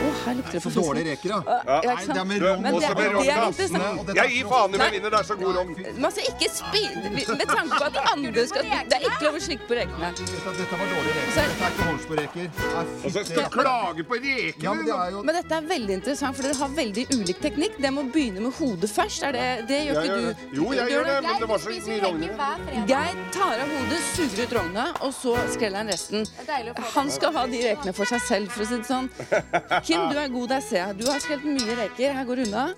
Speaker 7: Å, her lukter det for fisk.
Speaker 1: Dårlige reker, da.
Speaker 7: Ja, ikke sant?
Speaker 1: Det er med
Speaker 3: Men
Speaker 1: rom
Speaker 7: Men
Speaker 1: og
Speaker 7: det,
Speaker 3: Også med
Speaker 7: det er
Speaker 3: Ronny
Speaker 7: interessant.
Speaker 3: Jeg gir faen i om jeg vinner, det er så god rom.
Speaker 7: Man skal ikke spi... Med tanke på at andre skal Det er ikke lov å slikke på rekene.
Speaker 1: Dette var dårlige reker.
Speaker 7: Så er-
Speaker 1: Dette er ikke Holmsborg-reker.
Speaker 3: Og så skal jeg klage på rekene!
Speaker 1: Ja, men det er jo
Speaker 7: Men dette er veldig interessant, for dere har veldig ulik teknikk. Dere må begynne med hodet først. Er det, det gjør
Speaker 3: Jeg gjør
Speaker 7: ikke
Speaker 3: det.
Speaker 7: du.
Speaker 3: Jo, jeg gjør det,
Speaker 7: Geir-
Speaker 3: men det var så
Speaker 8: Spiser
Speaker 3: mye
Speaker 8: reker
Speaker 3: rogner.
Speaker 8: hver fredag.
Speaker 7: Geir tar av hodet, suger ut rogna, og så skreller han resten.
Speaker 8: deilig å få det.
Speaker 7: Han skal ha de rekene for seg selv, for å si det sånn. Kim, du er god, der ser jeg. Du har skrelt mye reker. Her går det unna.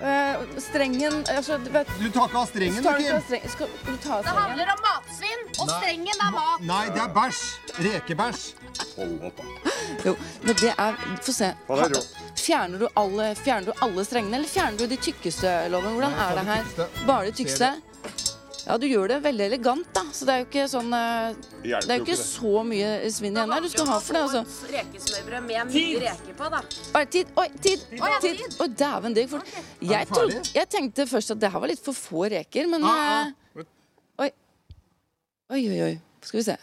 Speaker 7: Eh, strengen altså, du vet,
Speaker 1: Du tar ikke av
Speaker 7: så
Speaker 1: strengen,
Speaker 7: tar
Speaker 1: du,
Speaker 7: du ikke av
Speaker 1: Kim.
Speaker 7: strengen. Skal du ta av
Speaker 8: Det
Speaker 7: strengen?
Speaker 8: handler om matsvinn, og strengen er mat.
Speaker 1: Nei, det er bæsj. Rekebæsj.
Speaker 7: Jo, men det er Få se.
Speaker 3: Hva er det,
Speaker 7: Fjerner du, alle, fjerner du alle strengene, eller fjerner du de tykkeste, Loven? Hvordan
Speaker 1: Nei,
Speaker 7: er det
Speaker 1: jeg tar de
Speaker 7: her?
Speaker 1: tykkeste.
Speaker 7: Bare de tykkeste?
Speaker 1: Ser
Speaker 7: Ja, du gjør det veldig elegant, da. Så det er jo ikke sånn eh,
Speaker 3: Hjelper
Speaker 7: Det er jo
Speaker 3: jo ikke
Speaker 7: ikke så mye svinn igjen der. Du skal ha for det, altså.
Speaker 8: Rekesmørbrød med mye reker på, da.
Speaker 7: Oi, tid! Oi, tid!
Speaker 8: Oi, ja,
Speaker 7: tid. Oi, dæven, det gikk fort. Jeg,
Speaker 1: ferdig?
Speaker 7: trodde, jeg tenkte først at det her var litt for få reker, men
Speaker 1: Ah,
Speaker 7: eh, Oi. Oi, oi, oi. Skal vi se.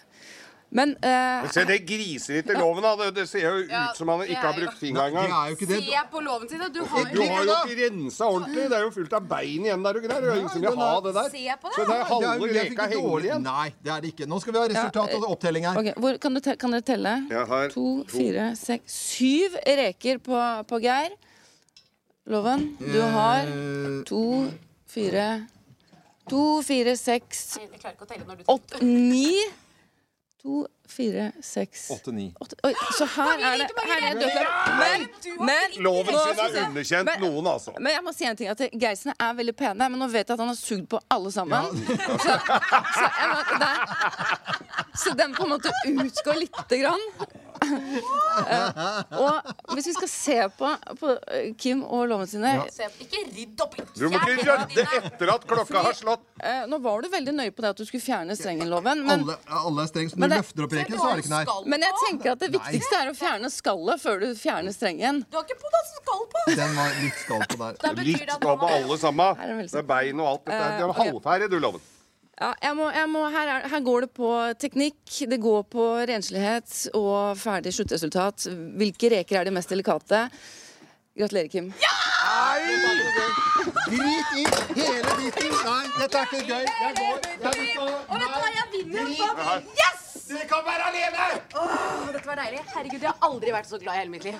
Speaker 7: Men eh,
Speaker 3: Se, det griser etter loven, da. Det, det ser jo ut som han ikke har brukt fingeren
Speaker 1: Det
Speaker 3: engang.
Speaker 1: er jo ikke det.
Speaker 8: jeg på loven sin, da. Du har
Speaker 3: Du har jo ikke rensa ordentlig. Det er jo fullt av bein igjen der og greier. og Ingen som vil ha det der.
Speaker 8: Se på det.
Speaker 3: Så det er
Speaker 1: Det er
Speaker 3: halve
Speaker 1: jo- jeg fikk
Speaker 3: reka
Speaker 1: ikke
Speaker 3: henger
Speaker 1: dårlig-
Speaker 3: igjen.
Speaker 1: Nei, det er det ikke. Nå skal vi ha resultat og opptelling her.
Speaker 7: Ok, hvor, kan, du te kan dere telle?
Speaker 3: Jeg har
Speaker 7: to, fire, seks Syv reker på, på Geir. Loven, du har to, fire To, fire, seks
Speaker 8: Jeg klarer ikke å telle når du
Speaker 7: Åtte, ni To, fire, seks Åtte- Oi, så her er det, her er det dødklart. Men, men
Speaker 3: Loven
Speaker 7: nå
Speaker 3: sin
Speaker 7: skal
Speaker 3: er
Speaker 7: vi se.
Speaker 3: underkjent
Speaker 7: Men-
Speaker 3: noen, altså.
Speaker 7: men jeg må si en ting at Geisene er veldig pene, men nå vet jeg at han har sugd på alle sammen. Så, så, jeg må, der. så den på en måte utgår lite grann. Eh, og hvis vi skal se på, på eh, Kim og lovene sine
Speaker 8: Ikke rydd opp i
Speaker 3: Du må ikke rydde etter at klokka har slått.
Speaker 7: eh, Nå var du veldig nøye på det at du skulle fjerne strengen-loven, men,
Speaker 1: Alle, alle er strengt. så
Speaker 7: Men
Speaker 1: Når du
Speaker 7: det-
Speaker 1: løfter opp reken, så er det ikke nei.
Speaker 7: men jeg tenker at det viktigste er å fjerne skallet før du fjerner strengen.
Speaker 8: Du har ikke på deg skall på!
Speaker 1: Den var litt skall på der.
Speaker 8: Da betyr
Speaker 3: Likt
Speaker 8: det at
Speaker 3: skal
Speaker 8: man
Speaker 3: på
Speaker 8: har
Speaker 3: alle sammen.
Speaker 7: Er det vel
Speaker 3: Det er bein og alt. Dette er, det er
Speaker 7: Eh, ok.
Speaker 3: halvferdig, du, Loven.
Speaker 7: Ja, jeg må, jeg må, her, er, her går det på teknikk, det går på renslighet og ferdig sluttresultat. Hvilke reker er de mest delikate? Gratulerer, Kim.
Speaker 1: Drit i hele dritten. Nei, dette er ikke gøy. Jeg går. Jeg vil ikke
Speaker 8: Og vet du hva, jeg vinner! Hva? Yes!
Speaker 3: Dere kan være alene!
Speaker 8: Åh, dette var deilig. Herregud, jeg har aldri vært så glad i hele mitt liv.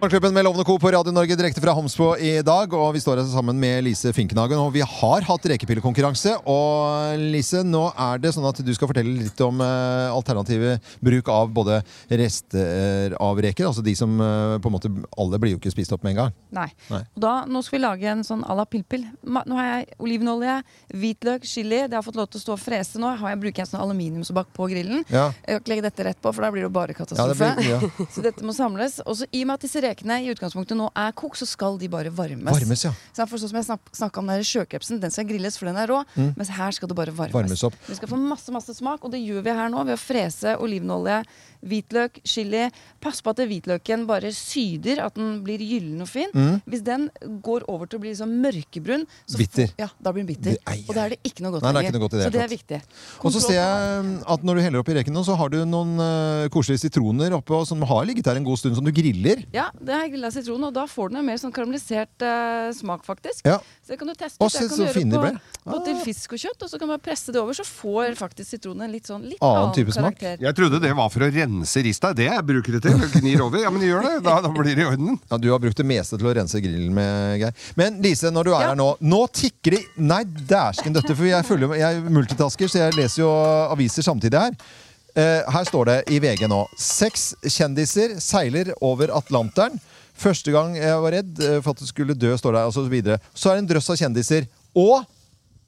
Speaker 1: Morgenklubben med Lovende Co. på Radio Norge direkte fra Homsbo i dag. Og vi står her sammen med Lise Finknagen, og vi har hatt rekepillekonkurranse. Og Lise, nå er det sånn at du skal fortelle litt om eh, alternative bruk av både rester av reker, altså de som eh, på en måte Alle blir jo ikke spist opp med en gang.
Speaker 9: Nei.
Speaker 1: Nei.
Speaker 9: Og da, nå skal vi lage en sånn à la pillpill. Ma- Nå har jeg olivenolje, hvitløk, chili. Det har fått lov til å stå og frese nå. Har jeg bruker jeg en sånn aluminiumsbakk på grillen.
Speaker 1: Ja.
Speaker 9: Jeg kan ikke legge dette rett på, for da blir det jo bare
Speaker 1: Ja, det
Speaker 9: katastrofe.
Speaker 1: blir, ja.
Speaker 9: Så dette må samles. Og så i og med at disse rekene i utgangspunktet nå er kokt, så skal de bare varmes.
Speaker 1: Varmes, ja.
Speaker 9: Så for sånn som jeg snak- snakket om den der sjøkrepsen, den skal grilles for den er rå, mens her skal det bare varmes.
Speaker 1: Mm. Varmes opp.
Speaker 9: Vi skal få masse, masse smak, og det gjør vi her nå ved å frese olivenolje, hvitløk, chili. Pass på at hvitløken bare syder, at den blir gyllen og fin.
Speaker 1: Mm.
Speaker 9: Hvis den går over til å bli sånn mørkebrun, så får-
Speaker 1: Bitter.
Speaker 9: Ja, da blir den bitter.
Speaker 1: Det- ei,
Speaker 9: og da er det ikke noe godt
Speaker 1: Nei, det er ikke noe godt i det
Speaker 9: Så det
Speaker 1: hele
Speaker 9: er viktig.
Speaker 1: Og så ser jeg eh, at når du heller oppi reken nå, så har du noen eh, koselige sitroner oppe og som har ligget her en god stund, som du griller.
Speaker 9: Ja, det har jeg grilla sitron, og da får den en mer sånn karamellisert eh, smak, faktisk.
Speaker 1: Ja.
Speaker 9: Så det kan du teste ut.
Speaker 1: Å,
Speaker 9: Det
Speaker 1: se
Speaker 9: kan
Speaker 1: så
Speaker 9: du gjøre
Speaker 1: fin de
Speaker 9: på,
Speaker 1: ble. Ah.
Speaker 9: på til fisk og kjøtt, og så kan du bare presse det over, så får faktisk sitronen en litt sånn litt
Speaker 1: Annen
Speaker 9: annen,
Speaker 1: type smak.
Speaker 9: karakter.
Speaker 3: Jeg trodde det var for å rense rista. Det jeg bruker det til. Gnir over. Ja, men gjør det. Da, da blir det i orden.
Speaker 1: Ja, Du har brukt det meste til å rense grillen med, Geir. Men Lise, når du er
Speaker 9: Ja.
Speaker 1: her nå Nå tikker det Nei, dæsken døtte, for jeg, følger, jeg er multitasker, så jeg leser jo aviser samtidig her. Eh, her står det i VG nå. Seks kjendiser seiler over Atlanteren. Første gang jeg var redd eh, for at det skulle dø, står det. Og så videre. Så er det en drøss av kjendiser. Og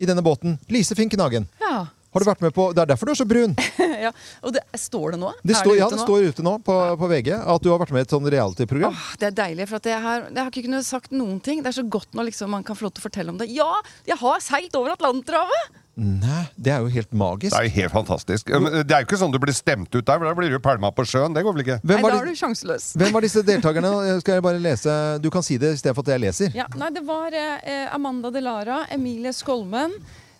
Speaker 1: i denne båten Lise Finkenhagen.
Speaker 7: Ja.
Speaker 1: Har du vært med på Det er derfor du er så brun.
Speaker 7: ja. Og det, står det nå? Er
Speaker 1: Det står, ja,
Speaker 7: ute
Speaker 1: det
Speaker 7: nå?
Speaker 1: står ute nå på, på VG at du har vært med i et sånn reality-program.
Speaker 7: Det er deilig, for at jeg, har, jeg har ikke kunnet sagt noen ting. Det er så godt når liksom, man kan få lov til å fortelle om det. Ja, jeg har seilt over Atlanterhavet!
Speaker 1: Nei, det er jo helt magisk.
Speaker 3: Det er jo helt fantastisk. Ja, men Det er jo ikke sånn du blir stemt ut der, for da blir du jo pælma på sjøen. Det går vel ikke?
Speaker 7: Nei, da er du sjanseløs.
Speaker 1: Hvem var disse deltakerne? Skal jeg bare lese? Du kan si det i stedet for at jeg leser.
Speaker 7: Ja, nei, det var eh, Amanda Delara, Emilie Skolmen,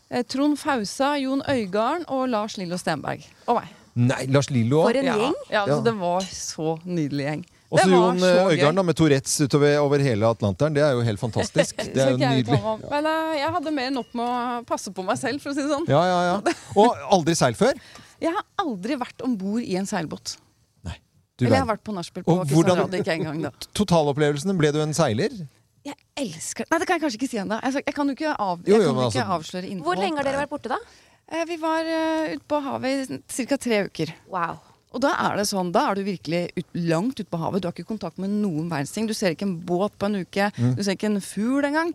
Speaker 7: eh, Trond Fausa, Jon Øygarden og Lars Lillo Stenberg. Og meg.
Speaker 1: Nei, Lars Lillo.
Speaker 7: ja. Ja, altså,
Speaker 1: Ja.
Speaker 7: Det var så nydelig gjeng.
Speaker 1: Også
Speaker 7: det var
Speaker 1: Jon
Speaker 7: så gøy.
Speaker 1: Øigarden da, med Tourettes utover over hele Atlanteren. Det er jo helt fantastisk. Det er
Speaker 7: Så
Speaker 1: jo
Speaker 7: ikke jeg
Speaker 1: nydelig.
Speaker 7: uttaler meg om. Men eh, jeg hadde mer enn nok med å passe på meg selv, for å si det sånn.
Speaker 1: Ja, ja, ja. Og aldri seilt før?
Speaker 7: Jeg har aldri vært om bord i en seilbåt.
Speaker 1: Du
Speaker 7: Eller jeg har
Speaker 1: verden.
Speaker 7: vært på nachspiel på
Speaker 1: Og
Speaker 7: Kristian
Speaker 1: hvordan-
Speaker 7: Rad, ikke engang da.
Speaker 1: Totalopplevelsen, ble du en seiler?
Speaker 7: Jeg elsker Nei, det kan jeg kanskje ikke si ennå. Jeg, sa- jeg kan jo ikke, av,
Speaker 1: Jo,
Speaker 7: jeg
Speaker 1: jo,
Speaker 7: kan
Speaker 1: men
Speaker 7: ikke
Speaker 1: altså-
Speaker 7: avsløre innhold.
Speaker 2: Hvor lenge har dere vært borte, da?
Speaker 7: Eh, Vi var eh, ute på havet i ca. tre uker. Og da er det sånn, da er du virkelig ut, langt ute på havet. Du har ikke kontakt med noen verdens ting. Du ser ikke en båt på en uke.
Speaker 1: Mm.
Speaker 7: Du ser ikke en fugl engang.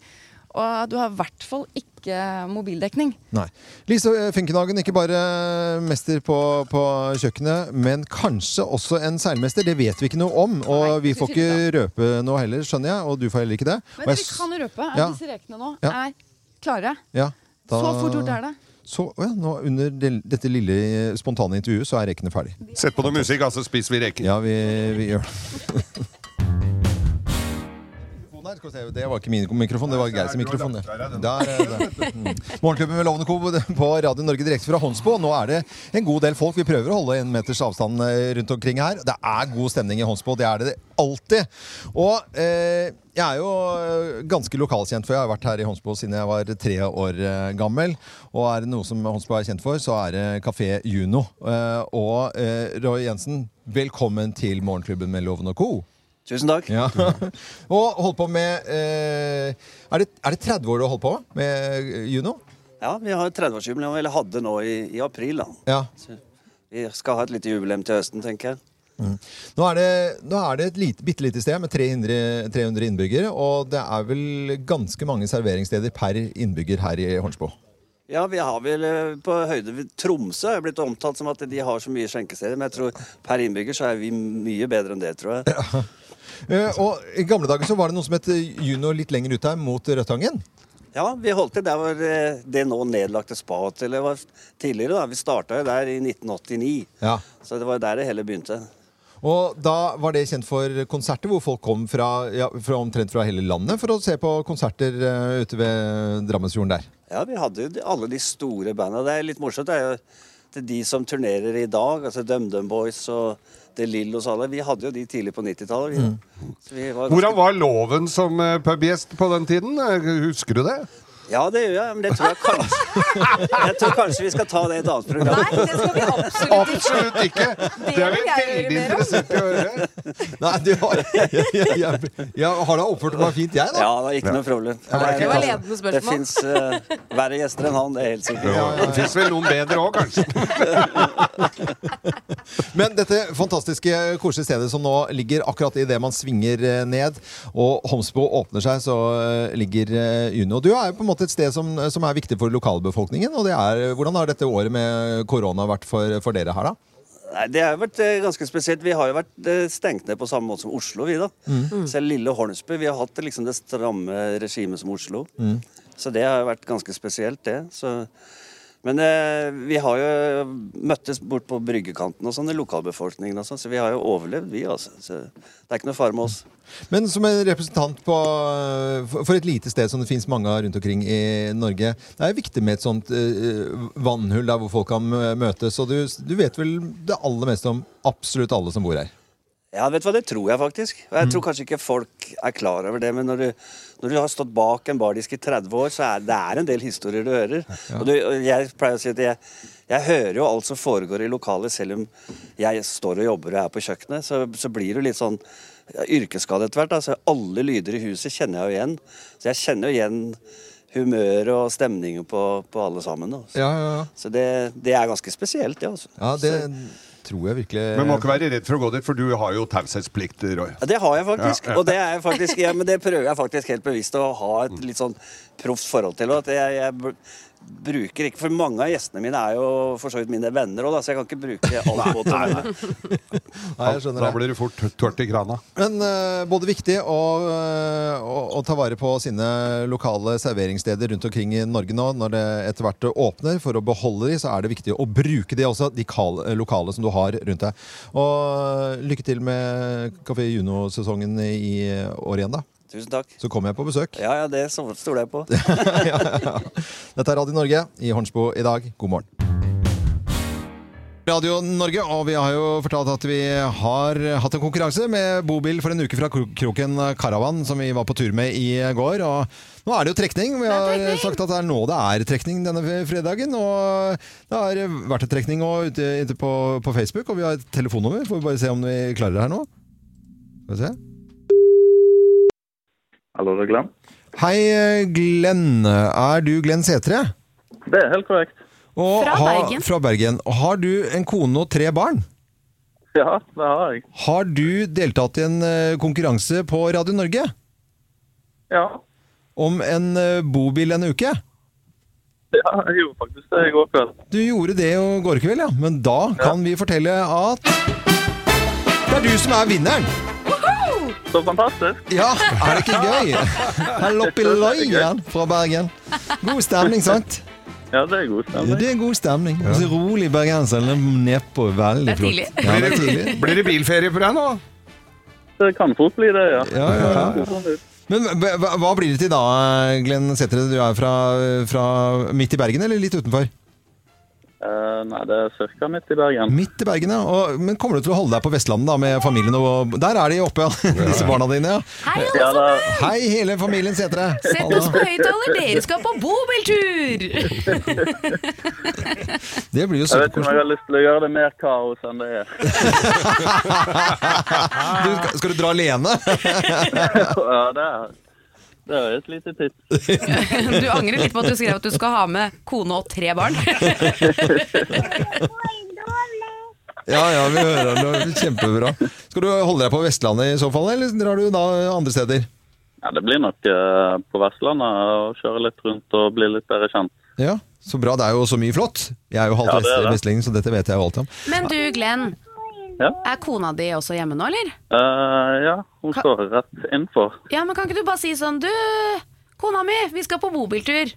Speaker 7: Og du har i hvert fall ikke mobildekning.
Speaker 1: Nei. Lise eh, Finkenhagen, ikke bare eh, mester på, på kjøkkenet, men kanskje også en seilmester. Det vet vi ikke noe om, og vi får ikke røpe noe heller, skjønner jeg. Og du får heller ikke det.
Speaker 7: Men
Speaker 1: Og
Speaker 7: det
Speaker 1: jeg
Speaker 7: vi kan røpe, er at
Speaker 1: Ja.
Speaker 7: disse rekene nå
Speaker 1: Ja.
Speaker 7: er klare.
Speaker 1: Ja, da-
Speaker 7: Så fort gjort er det.
Speaker 1: Så, å ja, nå under del- dette lille eh, spontane intervjuet så er rekene ferdig.
Speaker 3: Sett på noe musikk, altså spiser vi reker.
Speaker 1: Ja, vi, vi gjør det. Mikrofonen her, skal vi se, Det var ikke min mikrofon, det var Geirs mikrofon. det. Der, eh, der. Mm. Morgenklubben med Lovende Co. på Radio Norge direkte fra Hånsbo. Nå er det en god del folk. Vi prøver å holde en meters avstand eh, rundt omkring her. Det er god stemning i Hånsbo, det er det alltid. Og eh, jeg er jo eh, ganske lokalkjent, for jeg har vært her i Hånsbo siden jeg var tre år eh, gammel. Og er det noe som Hånsbo er kjent for, så er det Kafé Juno. Eh, og eh, Roy Jensen, velkommen til Morgenklubben med Loven og Co.
Speaker 10: Tusen takk.
Speaker 1: Ja. og holdt på med eh, er, det, er det 30 år du har holdt på med, med eh, Juno?
Speaker 10: Ja, vi har 30-årsjubileum, eller hadde nå i, i april. da.
Speaker 1: Ja.
Speaker 10: Så vi skal ha et lite jubileum til høsten, tenker jeg.
Speaker 1: Mm. Nå er det, nå er det et lite, bitte lite sted med 300, 300 innbyggere, og det er vel ganske mange serveringssteder per innbygger her i Hornsbo.
Speaker 10: Ja, vi har vel eh, på høyde ved Tromsø er blitt omtalt som at de har så mye skjenkesteder, men jeg tror per innbygger så er vi mye bedre enn det, tror jeg.
Speaker 1: Eh, og I gamle dager så var det noe som het eh, Juno litt lenger ut her, mot Rødtangen.
Speaker 10: Ja, vi holdt til der hvor eh, det nå nedlagte spahotellet var tidligere. da. Vi starta jo der i 1989,
Speaker 1: Ja.
Speaker 10: så det var der det hele begynte.
Speaker 1: Og da var det kjent for konserter hvor folk kom fra, ja, fra omtrent fra hele landet for å se på konserter eh, ute ved Drammensfjorden der.
Speaker 10: Ja, vi hadde jo de- alle de store banda. Det er litt morsomt. Det er jo det er de som turnerer i dag, altså DumDum Boys og The Lillos og alle. Vi hadde jo de tidlig på 90-tallet. vi. Så vi var ganske-
Speaker 3: Hvordan var loven som eh, pubgjest på den tiden? Eh, Husker du det?
Speaker 10: Ja, det gjør jeg, men det tror jeg kanskje Jeg tror kanskje vi skal ta det i et annet program. Nei, det skal vi absolutt
Speaker 3: ikke. Absolutt ikke. Det er vi veldig interessert i å høre.
Speaker 1: Nei, du har Jeg, jeg, jeg, jeg har da oppført meg fint, jeg, da.
Speaker 10: Ja, det er ikke noe problem.
Speaker 1: Ja, det er ikke-
Speaker 10: Det fins verre gjester enn han, det er helt sikkert.
Speaker 3: Det fins vel noen bedre òg, kanskje.
Speaker 1: Men dette fantastiske, koselige stedet som nå ligger akkurat idet man svinger eh, ned, og Homsbo åpner seg, så eh, ligger eh, Juno. Du er jo på en måte et sted som, som er viktig for lokalbefolkningen. og det er, eh, Hvordan har dette året med korona vært for, for dere her, da?
Speaker 10: Nei, Det har jo vært eh, ganske spesielt. Vi har jo vært eh, stengt ned på samme måte som Oslo, vi, da.
Speaker 1: Mm.
Speaker 10: Selv lille Hornsby. Vi har hatt liksom det stramme regimet som Oslo.
Speaker 1: Mm.
Speaker 10: Så det har jo vært ganske spesielt, det. Så, men eh, vi har jo møttes bort på bryggekanten og sånn, i lokalbefolkningen og sånn, så vi har jo overlevd, vi, altså. Så det er ikke noe fare med oss.
Speaker 1: Men som en representant på, eh, for for et lite sted som det finnes mange av rundt omkring i Norge, det er viktig med et sånt eh, vannhull der hvor folk kan mø- møtes. Og du, du vet vel det aller meste om absolutt alle som bor her?
Speaker 10: Ja, vet du hva, det tror jeg faktisk. Og
Speaker 1: Mm.
Speaker 10: jeg tror kanskje ikke folk er klar over det, men når du, når du har stått bak en bardisk i 30 år, så er det er en del historier du hører. Og, du, og jeg pleier å si at jeg, jeg hører jo alt som foregår i lokalet, selv om jeg står og jobber og er på kjøkkenet, så, så blir du litt sånn ja, yrkesskadet etter hvert. da. Så alle lyder i huset kjenner jeg jo igjen. Så jeg kjenner jo igjen humøret og stemningen på, på alle sammen. Da. Så,
Speaker 1: Ja, ja, ja.
Speaker 10: så det, det er ganske spesielt, det. Altså.
Speaker 1: ja det tror jeg virkelig
Speaker 11: Men må ikke være redd for å gå dit, for du har jo taushetsplikt, Roy.
Speaker 10: Ja, det har jeg faktisk.
Speaker 11: Ja, ja.
Speaker 10: Og det, er jeg faktisk ja, men det prøver jeg faktisk helt bevisst å ha
Speaker 11: Mm.
Speaker 10: et litt sånn proft forhold til. og At jeg, jeg br- bruker ikke For mange av gjestene mine er jo for så vidt mine venner òg, så jeg kan ikke bruke alt på
Speaker 11: Nei,
Speaker 10: til
Speaker 1: Nei, jeg skjønner
Speaker 11: Da
Speaker 1: det.
Speaker 11: blir du fort tørt i krana.
Speaker 1: Men eh, både viktig og, eh, å, å ta vare på sine lokale serveringssteder rundt omkring i Norge nå. Når det etter hvert åpner, for å beholde de, så er det viktig å bruke de også. De kal- lokale som du har rundt deg. Og eh, lykke til med Kafé Juno-sesongen i år igjen, da.
Speaker 10: Tusen takk.
Speaker 1: Så kommer jeg på besøk.
Speaker 10: Ja, ja, det så- stoler jeg på.
Speaker 1: Dette er Radio Norge i Hornsbo i dag. God morgen. Radio Norge, og vi har jo fortalt at vi har hatt en konkurranse med bobil for en uke fra Kro- Kroken Caravan, som vi var på tur med i går. Og nå er det jo trekning. Vi har sagt at det er nå det er trekning denne f- fredagen. Og det har vært en trekning og ute, ute på, på Facebook, og vi har et telefonnummer. Får vi bare se om vi klarer det her nå. Skal vi se.
Speaker 12: Hallo, det er Glenn.
Speaker 1: Hei, Glenn. Er du Glenn Setre?
Speaker 12: Det er helt korrekt.
Speaker 1: Og
Speaker 12: Fra
Speaker 1: har-
Speaker 12: Bergen.
Speaker 1: Fra Bergen. Har du en kone og tre barn?
Speaker 12: Ja, det har jeg.
Speaker 1: Har du deltatt i en eh, konkurranse på Radio Norge?
Speaker 12: Ja.
Speaker 1: Om en eh, bobil en uke?
Speaker 12: Ja, jeg gjorde faktisk det i går kveld.
Speaker 1: Du gjorde det i går kveld, ja. Men da kan vi fortelle at det er du som er vinneren!
Speaker 12: Så fantastisk.
Speaker 1: Ja, er det ikke gøy? Loppiløyen fra Bergen. God stemning, sant?
Speaker 12: Ja, det er god
Speaker 1: Ja,
Speaker 12: stemning.
Speaker 1: det er god stemning. Og så rolig bergenser nedpå. Veldig
Speaker 12: Det er
Speaker 1: flott.
Speaker 12: tidlig.
Speaker 1: Ja, det er tidlig.
Speaker 3: Blir det bilferie på deg nå?
Speaker 12: Det kan fort bli det, sånn ja.
Speaker 1: Ja, ja, ja. Men hva, hva- hva blir det til da, Glenn Sætre? Du er fra, fra midt i Bergen, eller litt utenfor?
Speaker 12: Eh, nei, det er ca. midt i Bergen.
Speaker 1: Midt i Bergen, ja. Og, men kommer du til å holde deg på Vestlandet da, med familien? Og, der er de oppe, ja. disse barna dine. ja.
Speaker 12: alle Ja, da.
Speaker 1: Hei, hele familien Sætre.
Speaker 2: Sett oss på høyttaler, dere skal på bobiltur!
Speaker 1: Det blir jo
Speaker 12: Jeg vet ikke om jeg
Speaker 1: superkoselig.
Speaker 12: har lyst til å gjøre det mer kaos enn det er.
Speaker 1: Du, skal, skal du dra alene?
Speaker 12: ja, det er, det er et lite tips.
Speaker 2: Du angrer litt på at du skrev at du skal ha med kone og tre barn.
Speaker 1: Ja, ja, vi hører det. det. er Kjempebra. Skal du holde deg på Vestlandet i så fall, eller drar du da andre steder?
Speaker 12: Ja, det blir nok eh, på Vestlandet å kjøre litt rundt og bli litt bedre kjent.
Speaker 1: Ja, så bra. Det er jo så mye flott. Jeg er jo halvt
Speaker 12: Ja, det er det.
Speaker 1: vest- vestlending, så dette vet jeg jo alt om.
Speaker 2: Men du Glenn,
Speaker 12: Ja.
Speaker 2: er kona di også hjemme nå, eller?
Speaker 12: Eh, ja, hun står rett innenfor.
Speaker 2: Ja, men kan ikke du bare si sånn Du, kona mi, vi skal på bobiltur. Jeg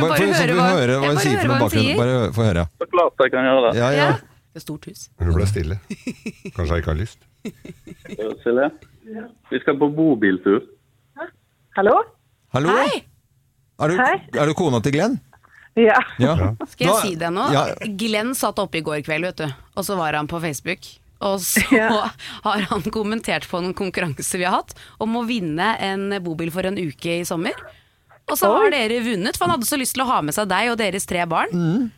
Speaker 1: Mm.
Speaker 2: bare
Speaker 1: Bare,
Speaker 2: hører
Speaker 1: bare, høre
Speaker 2: hva- jeg
Speaker 1: høre hva hun
Speaker 2: bare
Speaker 1: sier
Speaker 2: hører hva
Speaker 1: for noe
Speaker 2: hun
Speaker 1: bakgrunn.
Speaker 2: sier.
Speaker 1: Bare hø- få høre.
Speaker 12: Så klart jeg kan gjøre det.
Speaker 1: Ja, ja.
Speaker 2: Det er stort hus.
Speaker 11: Hun ble stille. Kanskje jeg ikke har lyst.
Speaker 12: Silje, vi skal på bobiltur.
Speaker 5: Hallo?
Speaker 1: Hallo?
Speaker 5: Hei.
Speaker 1: Er du,
Speaker 5: Hei.
Speaker 1: er du kona til Glenn?
Speaker 5: Ja.
Speaker 1: Ja.
Speaker 2: Skal jeg
Speaker 1: Da-
Speaker 2: si deg noe?
Speaker 1: Ja.
Speaker 2: Glenn satt oppe i går kveld, vet du, og så var han på Facebook. Og så har han kommentert på en konkurranse vi har hatt om å vinne en bobil for en uke i sommer. Og så har dere vunnet, for han hadde så lyst til å ha med seg deg og deres tre barn.
Speaker 1: Mm.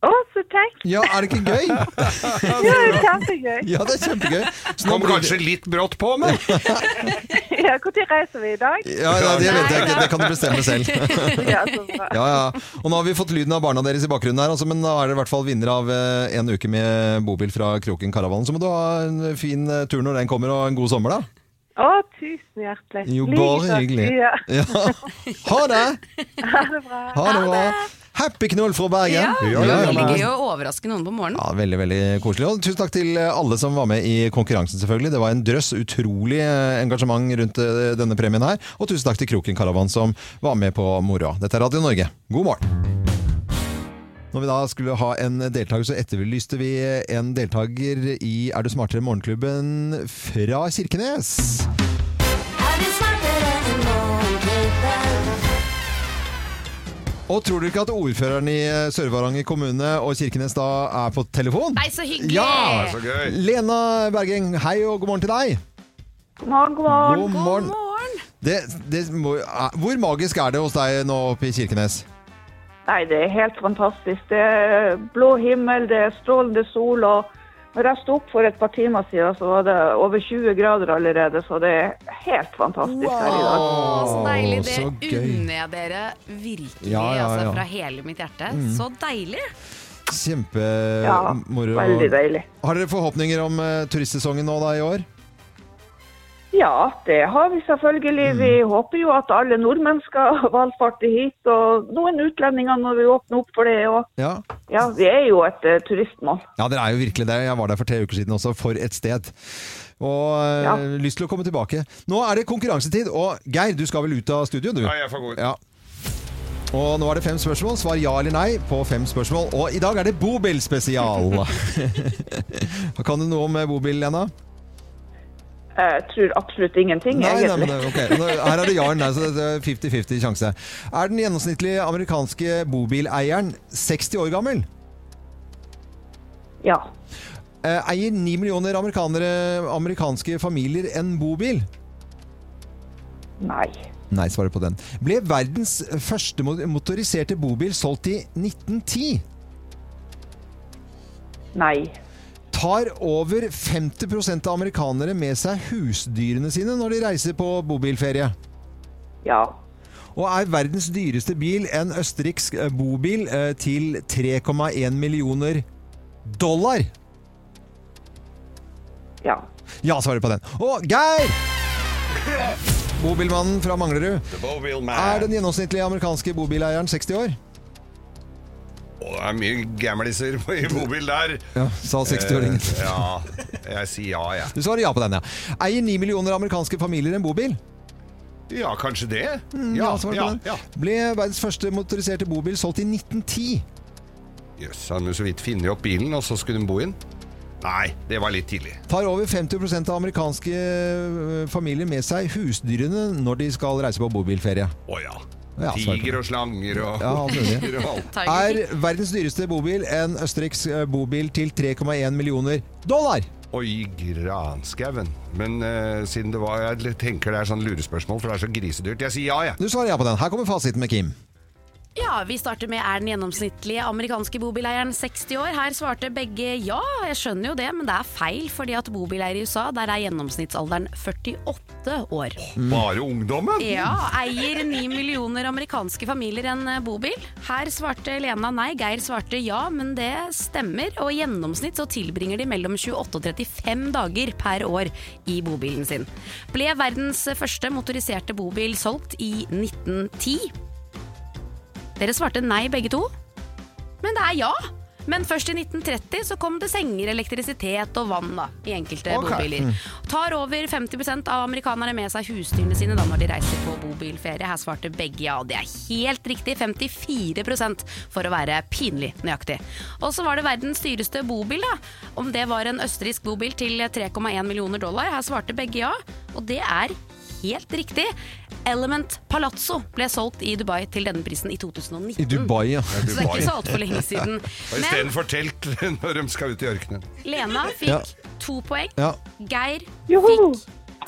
Speaker 5: Å, så kjekt!
Speaker 1: Ja, er det ikke gøy?
Speaker 5: Ja, det er kjempegøy.
Speaker 1: Ja, det er kjempegøy.
Speaker 3: Kom kanskje litt brått på, men
Speaker 5: Ja, Når reiser vi i dag?
Speaker 1: Ja, nei, det vet jeg ikke. Det kan du bestemme selv.
Speaker 5: Ja,
Speaker 13: altså,
Speaker 5: så bra.
Speaker 1: Ja, ja. Og nå har vi fått lyden av barna deres i bakgrunnen her, altså, men da er det i hvert fall vinner av eh, en uke med bobil fra Kroken Karavanen. Så må du ha en fin eh, tur når den kommer, og en god sommer, da.
Speaker 5: Å, tusen hjertelig.
Speaker 1: Jo, bare
Speaker 5: Likeså.
Speaker 1: hyggelig.
Speaker 5: Ja.
Speaker 1: Ja. Ha det!
Speaker 5: Ha det bra.
Speaker 1: Ha det bra. Happy knull fra Bergen.
Speaker 2: Ja, det var veldig gøy å overraske noen på morgenen.
Speaker 1: Ja, Veldig veldig koselig. Og tusen takk til alle som var med i konkurransen. selvfølgelig. Det var en drøss utrolig eh, engasjement rundt eh, denne premien her. Og tusen takk til Kroken Caravan som var med på moroa. Dette er Radio Norge. God morgen! Når vi da skulle ha en deltaker, så etterlyste vi en deltaker i Er du smartere? morgenklubben fra Kirkenes.
Speaker 4: Er du smartere enn morgenklubben?
Speaker 1: Og tror du ikke at ordføreren i eh, Sør-Varanger kommune og Kirkenes da er på telefon?
Speaker 2: Nei, så hyggelig!
Speaker 1: Ja!
Speaker 2: Så
Speaker 1: Lena Bergeng, hei og god morgen til deg.
Speaker 5: God morgen, god morgen.
Speaker 1: God morgen. Det, det må, er- hvor magisk er det hos deg nå oppe i Kirkenes?
Speaker 5: Nei, det er helt fantastisk. Det er blå himmel, det er strålende sol og
Speaker 13: Når jeg sto opp for et par timer siden, så var det over 20 grader allerede, så det er helt fantastisk her i dag.
Speaker 2: Så deilig. Det
Speaker 1: så gøy.
Speaker 2: unner jeg dere virkelig
Speaker 1: Ja, ja, ja.
Speaker 2: Altså, fra hele mitt hjerte.
Speaker 1: Mm.
Speaker 2: Så deilig!
Speaker 13: Ja,
Speaker 1: Kjempemoro.
Speaker 13: veldig deilig.
Speaker 1: Har dere forhåpninger om eh, turistsesongen nå da i år?
Speaker 13: Ja, det har vi
Speaker 1: Mm.
Speaker 13: selvfølgelig. Vi håper jo at alle nordmenn skal valfarte hit, og noen utlendinger når vi åpner opp for det. Og
Speaker 1: Ja.
Speaker 13: ja, vi er jo et eh, turistmål.
Speaker 1: Ja, dere er jo virkelig det. Jeg var der for tre uker siden også, for et sted. Og eh,
Speaker 13: Ja.
Speaker 1: lyst til å komme tilbake. Nå er det konkurransetid, og Geir, du skal vel ut av studio, du?
Speaker 3: Ja, jeg får gå ut.
Speaker 1: Ja. Og nå er det fem spørsmål. Svar ja eller nei på fem spørsmål. Og i dag er det bobilspesial. kan du noe om eh, bobil, Lena?
Speaker 13: Jeg tror absolutt ingenting,
Speaker 1: Nei, nei, men
Speaker 13: egentlig.
Speaker 1: det, ok. Nå- Her er det ja eller nei, så det er 50-50 sjanse. Er den gjennomsnittlige amerikanske bobileieren 60 år gammel?
Speaker 13: Ja.
Speaker 1: Eh, Eier 9 millioner amerikanere, amerikanske familier en bobil?
Speaker 13: Nei.
Speaker 1: Nei, svarer på den. Ble verdens første mo- motoriserte bobil solgt i 1910?
Speaker 13: Nei.
Speaker 1: Tar over 50 av amerikanere med seg husdyrene sine når de reiser på bobilferie?
Speaker 13: Ja.
Speaker 1: Og er verdens dyreste bil en østerriksk eh, bobil eh, til 3,1 millioner dollar?
Speaker 13: Ja.
Speaker 1: Ja, svarer på den. Og Geir! Bobilmannen fra Manglerud. Er den gjennomsnittlige amerikanske bobileieren 60 år?
Speaker 3: Å, det er mye gamliser på- i bobil der.
Speaker 1: Ja, sa 60-åringen.
Speaker 3: Eh, ja, jeg sier ja, jeg.
Speaker 1: Du svarer ja på den, ja. Eier 9 millioner amerikanske familier en bobil?
Speaker 3: Ja, kanskje det?
Speaker 1: Mm, ja, svarer på den. Ble verdens første motoriserte bobil solgt i 1910?
Speaker 3: Jøss, han hadde jo så vidt funnet opp bilen, og så skulle de bo inn? Nei, det var litt tidlig.
Speaker 1: Tar over 50 av amerikanske eh, familier med seg husdyrene når de skal reise på bobilferie.
Speaker 3: Å ja.
Speaker 1: Ja, svarer på
Speaker 3: Tiger og slanger og
Speaker 1: Ja, alt mulig.
Speaker 3: og alt.
Speaker 1: Er verdens dyreste bobil en østerriksk eh, bobil til 3,1 millioner dollar?
Speaker 3: Oi, granskauen. Men eh, siden det var Jeg tenker det er sånn lurespørsmål, for det er så grisedyrt. Jeg sier ja, jeg.
Speaker 1: Du svarer ja på den. Her kommer fasiten med Kim.
Speaker 2: Ja, vi starter med er den gjennomsnittlige amerikanske bobileieren 60 år? Her svarte begge ja, jeg skjønner jo det, men det er feil, fordi at bobileiere i USA, der er gjennomsnittsalderen 48 år.
Speaker 1: Mm.
Speaker 3: Bare ungdommen?
Speaker 2: Ja, eier 9 millioner amerikanske familier en eh, bobil? Her svarte Lena nei, Geir svarte ja, men det stemmer. Og i gjennomsnitt så tilbringer de mellom 28 og 35 dager per år i bobilen sin. Ble verdens første motoriserte bobil solgt i 1910? Dere svarte nei begge to. Men det er ja. Men først i 1930 så kom det senger, elektrisitet og vann da, i enkelte
Speaker 14: Ok.
Speaker 2: bobiler.
Speaker 14: Mm.
Speaker 2: Tar over 50 av amerikanere med seg husdyrene sine da når de reiser på bobilferie. Her svarte begge ja, og det er helt riktig. 54 for å være pinlig nøyaktig. Og så var det verdens dyreste bobil, da. Om det var en østerriksk bobil til 3,1 millioner dollar. Her svarte begge ja, og det er helt riktig. Element Palazzo ble solgt i Dubai til denne prisen i 2019.
Speaker 1: I Dubai, ja.
Speaker 2: Så det er ikke så altfor lenge siden.
Speaker 3: Og Istedenfor telt når de skal ut i ørkenen.
Speaker 2: Lena fikk
Speaker 1: Ja.
Speaker 2: to poeng.
Speaker 1: Ja.
Speaker 2: Geir fikk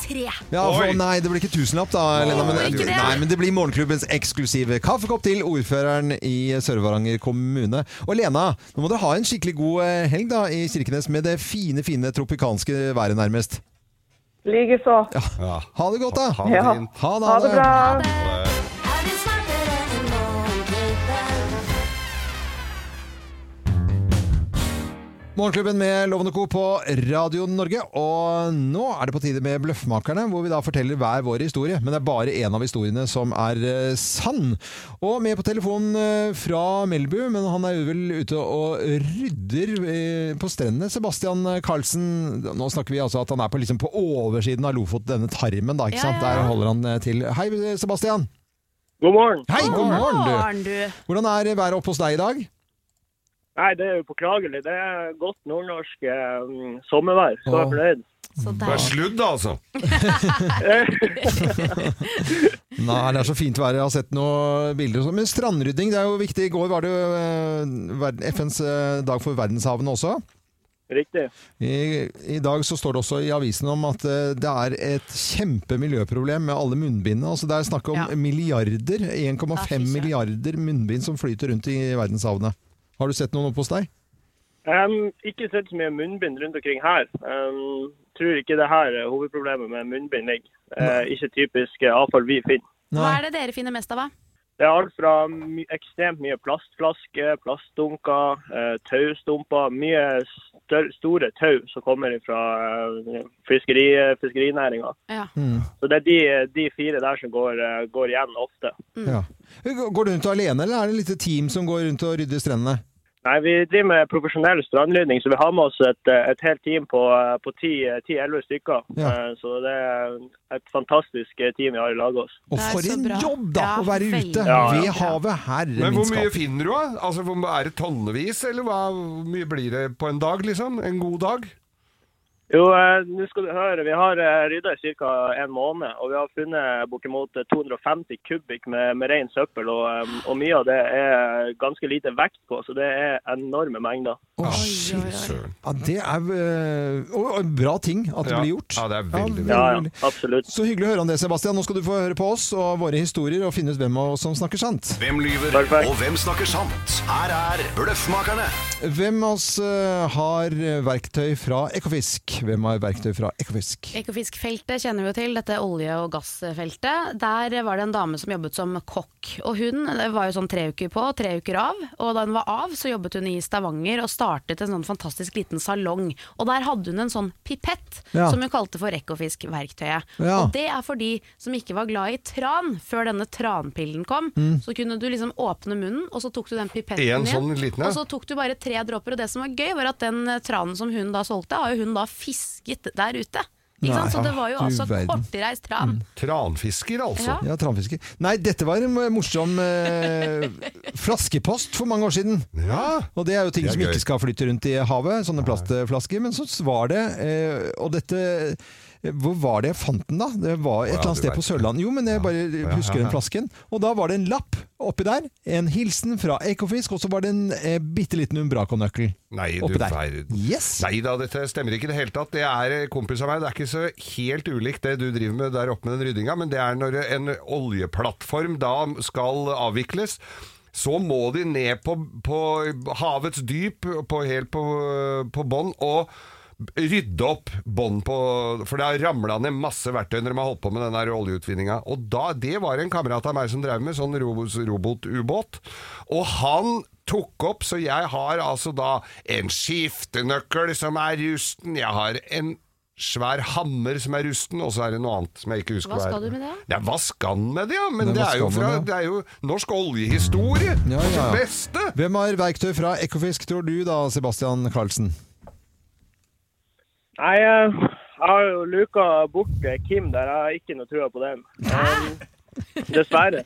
Speaker 2: tre.
Speaker 1: Ja, for, nei, det blir ikke tusenlapp da, Lena. Men,
Speaker 2: ikke det.
Speaker 1: nei, men det blir morgenklubbens eksklusive kaffekopp til ordføreren i Sør-Varanger kommune. Og Lena, nå må dere ha en skikkelig god eh, helg da i Kirkenes med det fine, fine tropikanske været nærmest.
Speaker 13: Likeså.
Speaker 1: Ha det godt, da!
Speaker 13: Ha det Ja. fint.
Speaker 1: Ha det,
Speaker 13: Ha det bra. Ha det.
Speaker 4: Er du smartere enn Morgenklubben?
Speaker 1: Morgenklubben med Lovende Co. på Radio Norge. Og nå er det på tide med Bløffmakerne, hvor vi da forteller hver vår historie. Men det er bare én av historiene som er eh, sann. Og med på telefonen eh, fra Melbu, men han er jo vel ute og rydder eh, på strendene, Sebastian eh, Karlsen. Nå snakker vi altså at han er på, liksom på oversiden av Lofot, denne tarmen, da. Ikke
Speaker 2: Ja,
Speaker 1: sant?
Speaker 2: ja, ja.
Speaker 1: Der holder han eh, til. Hei, Sebastian.
Speaker 15: God morgen.
Speaker 1: Hei, god morgen,
Speaker 2: Morgen, du.
Speaker 1: du. Hvordan er været oppe hos deg i dag?
Speaker 15: Nei, det er jo påklagelig. Det er godt nordnorsk eh, mm, sommervær. Så jeg
Speaker 1: Åh.
Speaker 15: er fornøyd.
Speaker 3: Det er sludd, da, altså.
Speaker 1: Nei, det er så fint vær. Jeg har sett noen bilder. og sånn. Men strandrydding det er jo viktig. I går var det jo eh, verden- FNs eh, dag for verdenshavene også.
Speaker 15: Riktig.
Speaker 1: I, I dag så står det også i avisen om at eh, det er et kjempemiljøproblem med alle munnbindene. Altså det er snakk om milliarder, 1,5 milliarder munnbind som flyter rundt i verdenshavene. Har du sett noen oppe hos deg?
Speaker 15: Em, ikke sett så mye munnbind rundt omkring her. Em, tror ikke det her er hovedproblemet med munnbind ligger. Eh, ikke typisk eh, avfall vi finner.
Speaker 2: Hva er det dere finner mest av, da?
Speaker 15: Det er alt fra my ekstremt mye plastflasker, plastdunker, eh, taustumper. Mye stør store tau som kommer fra eh, fiskeri fiskerinæringa.
Speaker 1: Mm.
Speaker 15: Så det er de, de fire der som går, eh, går igjen ofte.
Speaker 1: Ja. Går du rundt alene, eller er det et lite team som går rundt og rydder strendene?
Speaker 15: Nei, Vi driver med profesjonell strandrydding, så vi har med oss et, et helt team på, på 10-11 stykker.
Speaker 1: Ja.
Speaker 15: Eh, Så det er et fantastisk eh, team vi har i lag oss.
Speaker 1: Og for en jobb, da! å være ute
Speaker 15: Ja, ja.
Speaker 1: ved havet. Herre
Speaker 3: Men hvor
Speaker 1: min
Speaker 3: mye
Speaker 1: skap.
Speaker 3: finner du, da? Altså, hvor, er det tonnevis, eller hva, hvor mye blir det på en dag, liksom? En god dag?
Speaker 15: Jo, eh, nå skal du høre. Vi har eh, rydda i ca. en måned, og vi har funnet bortimot 250 kubikk med, med ren søppel. Og, eh, og mye av det er ganske lite vekt på, så det er enorme mengder.
Speaker 1: Å, shit. Ja, det er øh, og- og bra ting at det
Speaker 15: Ja.
Speaker 1: blir gjort.
Speaker 15: Ja, det er veldig bra.
Speaker 1: veldig,
Speaker 15: Ja, ja,
Speaker 1: veldig.
Speaker 15: absolutt.
Speaker 1: Så hyggelig å høre om det, Sebastian. Nå skal du få høre på oss og våre historier og finne ut hvem av oss som snakker sant.
Speaker 14: Hvem lyver, og hvem snakker sant? Her er Bløffmakerne.
Speaker 1: Hvem av oss øh, har verktøy fra Ekofisk? Hvem har verktøy fra Ekofisk?
Speaker 2: Ekofiskfeltet kjenner vi jo til, dette olje- og gassfeltet. Der var det en dame som jobbet som kokk. Og hun var jo sånn tre uker på, tre uker av. Og da hun var av, så jobbet hun i Stavanger og startet en sånn fantastisk liten salong. Og der hadde hun en sånn pipett
Speaker 16: Ja.
Speaker 2: som hun kalte for Ekofiskverktøyet.
Speaker 16: Ja.
Speaker 2: Og det er for de som ikke var glad i tran før denne tranpillen kom.
Speaker 3: Mm.
Speaker 2: Så kunne du liksom åpne munnen, og så tok du den pipetten igjen.
Speaker 3: En sånn liten, ja.
Speaker 2: Og så tok du bare tre dråper. Og det som var gøy, var at den eh, tranen som hun da solgte, har jo hun da fisket der ute. Ikke sant? Så
Speaker 1: Nei,
Speaker 2: det var jo
Speaker 1: du
Speaker 2: altså
Speaker 1: verden. Mm,
Speaker 2: kortreist tran.
Speaker 3: Tranfisker, altså.
Speaker 2: Ja.
Speaker 1: Ja, tranfisker. Nei, dette var en morsom eh, flaskepost for mange år siden. Og det er jo ting
Speaker 3: Det er
Speaker 1: som
Speaker 3: gøy.
Speaker 1: ikke skal flytte rundt i havet, sånne plastflasker. Men så var det eh, Og dette eh, hvor var det jeg fant den, da? Det var Et
Speaker 3: Ja,
Speaker 1: eller annet
Speaker 3: du
Speaker 1: sted
Speaker 3: vet
Speaker 1: på
Speaker 3: det.
Speaker 1: Sørlandet. Jo, men jeg bare
Speaker 3: ja,
Speaker 1: husker
Speaker 3: ja.
Speaker 1: den flasken. Og da var det en lapp oppi der. En hilsen fra Ekofisk, og så var det en eh, bitte liten Umbraco-nøkkel
Speaker 3: Nei, du
Speaker 1: oppi der.
Speaker 3: verden.
Speaker 1: Yes.
Speaker 3: Nei da, dette stemmer ikke i det hele tatt. Det er eh, kompis av meg. Det er ikke så helt ulikt det du driver med der oppe med den ryddinga, men det er når en oljeplattform da skal avvikles. Så må de ned på, på havets dyp, på, helt på, på bånn, og rydde opp bånd på For det har ramla ned masse verktøy når de har holdt på med den der oljeutvinninga. Og da, det var en kamerat av meg som drev med sånn ro- robotubåt. Og han tok opp, så jeg har altså da en skiftenøkkel som er rusten, jeg har en svær hammer som er rusten, og så er det noe annet som jeg ikke husker
Speaker 2: Hva
Speaker 3: er.
Speaker 2: skal du med det?
Speaker 3: Ja, hva skal han med det, ja? Men
Speaker 1: Men
Speaker 3: det
Speaker 1: hva
Speaker 3: er, jo
Speaker 1: skal
Speaker 3: fra,
Speaker 1: man med det?
Speaker 3: det er jo norsk oljehistorie!
Speaker 1: Ja, ja, ja.
Speaker 3: Det beste!
Speaker 1: Hvem har verktøy fra Ekofisk, tror du da, Sebastian Karlsen?
Speaker 15: Nei, eh, jeg har jo luka bort eh, Kim der. Jeg har ikke noe trua på den. Um, dessverre.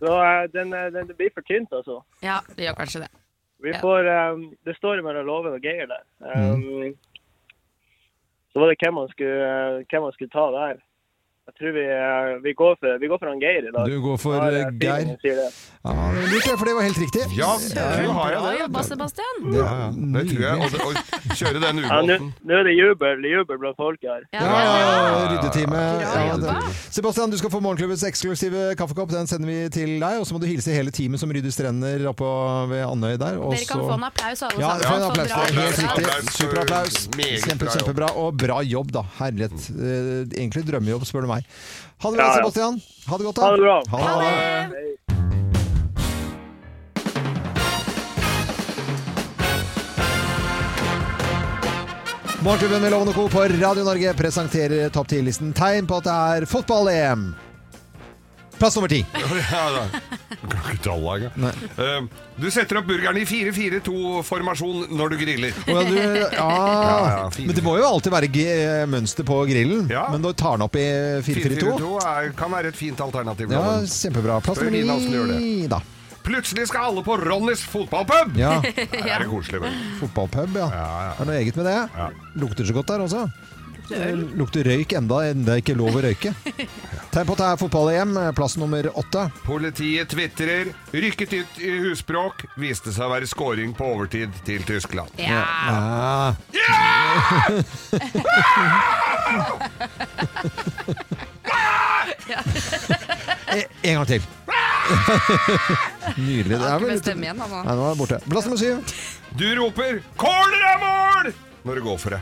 Speaker 15: Så eh, den, eh, den, det blir for tynt, altså.
Speaker 2: Ja, det gjør kanskje det.
Speaker 15: Vi
Speaker 2: Ja.
Speaker 15: får, eh, det står mellom Loven og Geir der. Um, Så var det hvem man skulle, eh, hvem man skulle ta der. Jeg tror vi, eh, vi, går for, vi går for han Geir i dag.
Speaker 1: Du går for,
Speaker 15: Ja, det er
Speaker 1: eh,
Speaker 15: fint han
Speaker 1: Geir. Ah,
Speaker 15: sier det.
Speaker 1: Ja, lurt det, for det var helt riktig.
Speaker 3: Ja, du har jo
Speaker 2: Bra
Speaker 3: det.
Speaker 2: jobba, Sebastian!
Speaker 3: Ja, ja. Det tror jeg. Og, det- og kjøre den
Speaker 15: Ja, nå
Speaker 3: ubåten.
Speaker 15: nå er det jubel, jubel blant folk her.
Speaker 1: Ja, ryddetime. Ja, det- Sebastian, du skal få morgenklubbets eksklusive kaffekopp. Den sender vi til deg. Og så må du hilse hele teamet som rydder strender oppå ved Andøy der. og
Speaker 2: Dere kan
Speaker 1: så-
Speaker 2: få en applaus, alle
Speaker 1: Ja,
Speaker 2: sammen.
Speaker 1: få en
Speaker 2: for
Speaker 1: applaus.
Speaker 2: bra
Speaker 1: Det er helt
Speaker 2: innsats.
Speaker 1: riktig. Superapplaus.
Speaker 3: Meget
Speaker 1: Kjempe,
Speaker 3: bra jobb.
Speaker 1: kjempebra. Og bra jobb, da. Herlighet. Eh, Egentlig drømmejobb, spør du meg. Ha det
Speaker 3: Ja,
Speaker 1: bra,
Speaker 3: ja.
Speaker 1: Sebastian. Ha det godt, da.
Speaker 3: Ha det bra.
Speaker 1: Ha det. Morgenklubben med Loven og Co. på Radio Norge presenterer topp 10-listen tegn på at det er fotball-EM. Plass nummer ti.
Speaker 3: ja, da. Kan ikke tale engang.
Speaker 1: Nei.
Speaker 3: Eh, Du setter opp burgeren i 4-4-2-formasjon når du griller.
Speaker 1: Å, ja, du, ja. Men det må jo alltid være g- mønster på grillen. Men da tar den opp i eh, 4-4-2.
Speaker 3: 4-4-2 er- kan være et fint alternativ.
Speaker 1: Ja,
Speaker 3: Loven.
Speaker 1: kjempebra. Plass
Speaker 3: Spør
Speaker 1: nummer
Speaker 3: Lina hvordan du gjør det.
Speaker 1: ni, da.
Speaker 3: Plutselig skal alle på Ronnys fotballpub!
Speaker 1: Ja.
Speaker 3: Her er det koselig, vel.
Speaker 1: Fotballpub, ja. Er det noe eget med det? Lukter så godt der også.
Speaker 3: øl.
Speaker 1: Lukter røyk enda, enda ikke lov å røyke. Tegn på at det er fotball-EM. eh, Plass nummer åtte.
Speaker 3: Politiet tvitrer. Rykket ut i husbråk. Viste seg å være scoring på overtid til Tyskland.
Speaker 1: Ja! E- En gang til. Nydelig. Det
Speaker 3: Jeg har
Speaker 1: er
Speaker 3: ikke
Speaker 1: vel
Speaker 3: bestemt igjen, altså.
Speaker 1: Nei, nå er det borte. Plass nummer syv.
Speaker 3: Du roper 'Corner er mål!' når du går for det.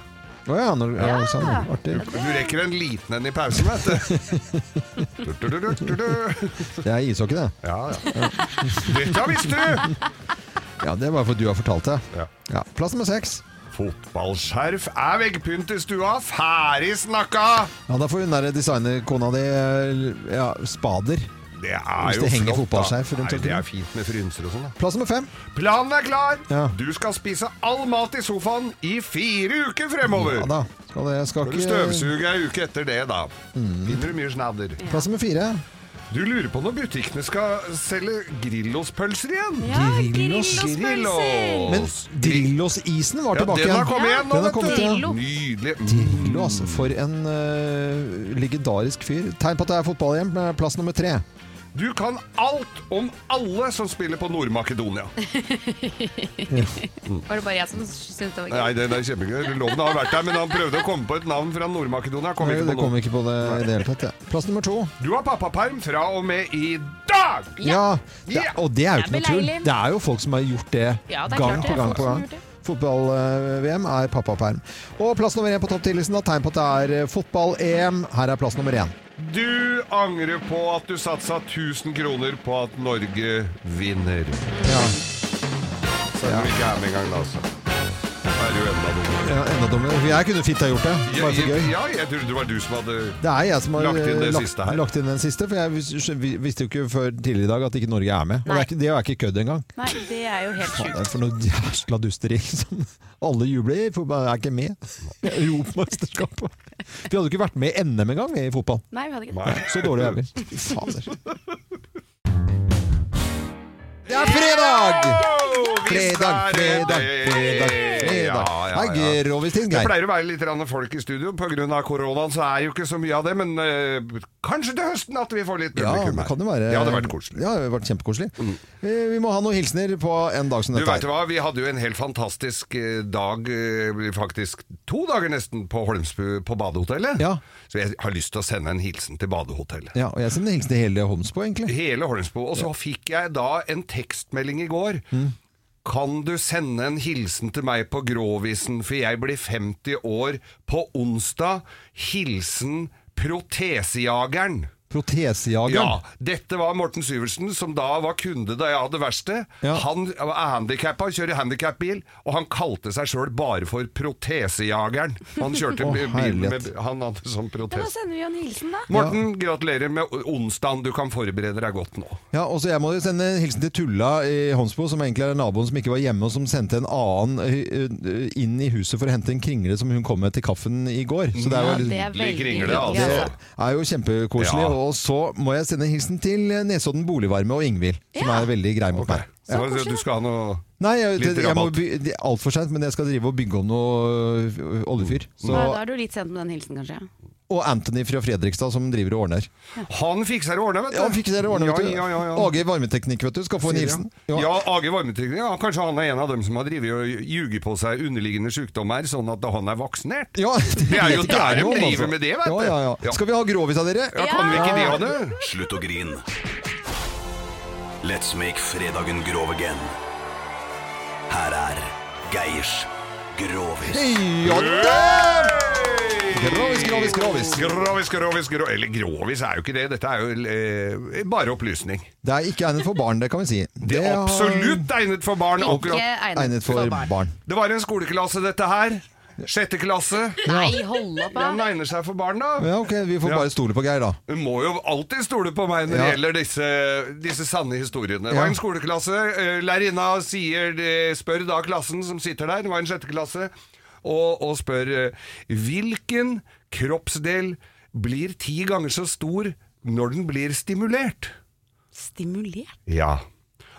Speaker 1: Å ja, når, ja, sånn. Artig.
Speaker 3: Du rekker en liten en i pausen, vet du. Du, du, du, du, du.
Speaker 1: Det er ishockey, det.
Speaker 3: Ja, ja. Dette visste du!
Speaker 1: Ja, Det er bare fordi du har fortalt det. Ja. Plass nummer seks.
Speaker 3: Fotballskjerf er veggpynt i stua. Ferdig snakka!
Speaker 1: Ja, Da får hun der designerkona di eh, ja, spader.
Speaker 3: Det er
Speaker 1: Hvis
Speaker 3: jo
Speaker 1: det henger
Speaker 3: flott, da.
Speaker 1: fotballskjerf rundt
Speaker 3: Nei,
Speaker 1: omkring.
Speaker 3: det er fint med frynser og sånn. da.
Speaker 1: Plass nummer fem.
Speaker 3: Planen er klar!
Speaker 1: Ja.
Speaker 3: Du skal spise all mat i sofaen i fire uker fremover!
Speaker 1: Ja da. Skal det, skal
Speaker 3: Når du
Speaker 1: ikke Mm.
Speaker 3: støvsuger ei uke etter det, da, finner du mye snadder.
Speaker 1: Plass nummer fire.
Speaker 3: Du lurer på når butikkene skal selge Grillos-pølser igjen?
Speaker 1: Grillos-pølser. Men Drillos-isen var
Speaker 3: Ja,
Speaker 1: tilbake
Speaker 3: den har kommet igjen
Speaker 1: Den
Speaker 3: nå,
Speaker 1: har
Speaker 3: vet du.
Speaker 1: kommet
Speaker 3: Drillo.
Speaker 1: igjen.
Speaker 3: Nydelig. Mm.
Speaker 1: Drillo, altså. For en eh, legendarisk fyr. Tegn på at det er fotballhjem. eh, Plass nummer tre.
Speaker 3: Du kan alt om alle som spiller på Nord-Makedonia.
Speaker 2: Var det bare jeg som syntes det var gøy?
Speaker 3: Nei, det, det er kjempegøy. Loven har vært der, men han prøvde å komme på et navn fra Nord-Makedonia. Kom
Speaker 1: Nei,
Speaker 3: ikke
Speaker 1: det
Speaker 3: på
Speaker 1: kom
Speaker 3: noe.
Speaker 1: ikke på det i det hele tatt. Ja. Plass nummer to.
Speaker 3: Du har pappaperm fra og med i dag!
Speaker 1: Ja! Det, og det er jo ikke
Speaker 3: Det er
Speaker 1: noe tull.
Speaker 3: beleilig.
Speaker 1: Det er jo folk som har gjort det
Speaker 3: Ja, det er klart
Speaker 1: gang
Speaker 3: det
Speaker 1: på
Speaker 3: er
Speaker 1: gang
Speaker 3: folk
Speaker 1: på
Speaker 3: som
Speaker 1: gang.
Speaker 3: har gjort det.
Speaker 1: Fotball-VM er pappaperm. Og plass nummer én på topptillitsen. Da tegn på at det er eh, fotball-EM. Her er plass nummer én.
Speaker 3: Du angrer på at du satsa 1000 kroner på at Norge vinner.
Speaker 1: Ja.
Speaker 3: Selv om vi ikke er med engang, da, altså. Da er det jo enda dummere.
Speaker 1: Ja, enda dummere. For Jeg kunne fint ha gjort det.
Speaker 3: Ja,
Speaker 1: Bare for gøy.
Speaker 3: ja, jeg trodde det var du som hadde
Speaker 1: Det er jeg som har
Speaker 3: lagt inn det
Speaker 1: eh,
Speaker 3: siste her.
Speaker 1: lagt inn den siste, for jeg vis- vi- visste jo ikke før tidligere i dag at ikke Norge er med. Og det er, ikke- det er jo ikke kødd engang.
Speaker 2: Nei, det er jo helt
Speaker 1: Faen,
Speaker 2: sjukt.
Speaker 1: det er For noe jævla dusteri. Liksom. Alle jubler, fotball er ikke med. Europamesterskapet. Vi hadde jo ikke vært med i NM engang vi, i fotball.
Speaker 2: Nei, vi hadde ikke
Speaker 1: Nei,
Speaker 2: det.
Speaker 1: Så dårlig er vi. Fy Fader. Det er fredag! Fredag, fredag, fredag, fredag. Hei, Grovistin,
Speaker 3: Det
Speaker 1: Geir.
Speaker 3: pleier å være litt grann folk i studio. Pga. koronaen så er jo ikke så mye av det, men eh, kanskje til høsten at vi får litt
Speaker 1: Ja,
Speaker 3: publikum
Speaker 1: det
Speaker 3: her.
Speaker 1: kan jo være
Speaker 3: Det hadde vært koselig. Mm.
Speaker 1: Ja, det hadde vært kjempekoselig. Eh, Vi må ha noen hilsener på en dag som
Speaker 3: Du
Speaker 1: dette.
Speaker 3: vet hva, Vi hadde jo en helt fantastisk eh, dag, eh, faktisk to dager nesten, på Holmsbu på badehotellet. Så jeg har lyst til å sende en hilsen til badehotellet.
Speaker 1: Ja, og jeg sender hilsen til hele Homsbo, egentlig.
Speaker 3: Hele Holmsbo. Og så fikk jeg da en tekstmelding i går.
Speaker 1: Mm.
Speaker 3: Kan du sende en hilsen til meg på Gråvisen, for jeg blir 50 år på onsdag. Hilsen Protesejageren.
Speaker 1: Protesejageren.
Speaker 3: Ja, dette var Morten Syversen, som da var kunde da jeg hadde verksted. Han er handikappa, kjører handikapbil, og han kalte seg sjøl bare for Protesejageren. Han kjørte
Speaker 1: Å,
Speaker 3: bil bilen med
Speaker 1: herlighet.
Speaker 3: Han hadde sånn
Speaker 2: Da
Speaker 3: protese...
Speaker 2: sender vi jo en hilsen, da.
Speaker 3: Morten, gratulerer med onsdagen. Du kan forberede deg godt nå.
Speaker 1: Ja, og så Jeg må jo sende en hilsen til Tulla i Homsbo, som egentlig er naboen som ikke var hjemme, og som sendte en annen eh, eh, inn i huset for å hente en kringle som hun kom med til kaffen i går. Så det er jo liksom-
Speaker 3: Ja,
Speaker 1: litt-
Speaker 3: det er veldig Kringle, hyggelig, altså. altså.
Speaker 1: Det er jo kjempekoselig.
Speaker 3: Ja.
Speaker 1: Og så må jeg sende en hilsen til Nesodden Boligvarme og Ingvild, som er veldig grei mot meg.
Speaker 3: Så du skal ha noe
Speaker 1: Nei, jeg,
Speaker 3: Litt
Speaker 1: det, jeg må
Speaker 3: rabatt.
Speaker 1: by- det er altfor seint, men jeg skal drive og bygge om noe ø, oljefyr. Så,
Speaker 2: Nei,
Speaker 3: Mm.
Speaker 2: da er du litt sent med den hilsen, kanskje. ja.
Speaker 1: og Anthony fra Fredrikstad som driver og ordner.
Speaker 3: Han fikser og ordner, vet du.
Speaker 1: Ja, han fikser og ordner, vet du.
Speaker 3: Ja, ja, ja, ja.
Speaker 1: Åge Varmeteknikk, vet du, skal få en hilsen.
Speaker 3: Ja, Age Varmeteknikk. Ja, kanskje han er en av dem som har drevet og ljuget på seg underliggende sykdommer, sånn at han er vaksinert? det, er jo
Speaker 1: vet jeg
Speaker 3: der de
Speaker 1: om, altså.
Speaker 3: driver med det, vet du.
Speaker 1: Ja, ja, ja. Skal vi ha grovis av dere?
Speaker 3: Ja, kan vi ikke det, ha det?
Speaker 14: Slutt å grin. Let's make fredagen grov again. Her er Geirs Grovis.
Speaker 1: Ja da! Grovis, grovis, grovis.
Speaker 3: Grovis, grovis, grovis. Eller grovis er jo ikke det. Dette er jo eh, bare opplysning.
Speaker 1: Det er ikke egnet for barn, det kan vi si. Det er
Speaker 3: Absolutt egnet for barn.
Speaker 1: Ikke
Speaker 3: akkurat.
Speaker 1: egnet Egnet for for barn. barn.
Speaker 3: Det var en skoleklasse, dette her. Sjette klasse.
Speaker 2: Nei, hold opp,
Speaker 3: da! Den egner seg for barn, da.
Speaker 1: Ja, ok, vi får bare stole på Geir, da.
Speaker 3: Du må jo alltid stole på meg når
Speaker 1: Ja.
Speaker 3: det gjelder disse, disse sanne historiene. Det
Speaker 1: Ja.
Speaker 3: var en skoleklasse. eh, Lærerinna sier, eh, spør da klassen som sitter der, det var en sjette klasse, og, og spør eh, hvilken kroppsdel blir ti ganger så stor når den blir stimulert?
Speaker 2: Stimulert?
Speaker 3: Ja.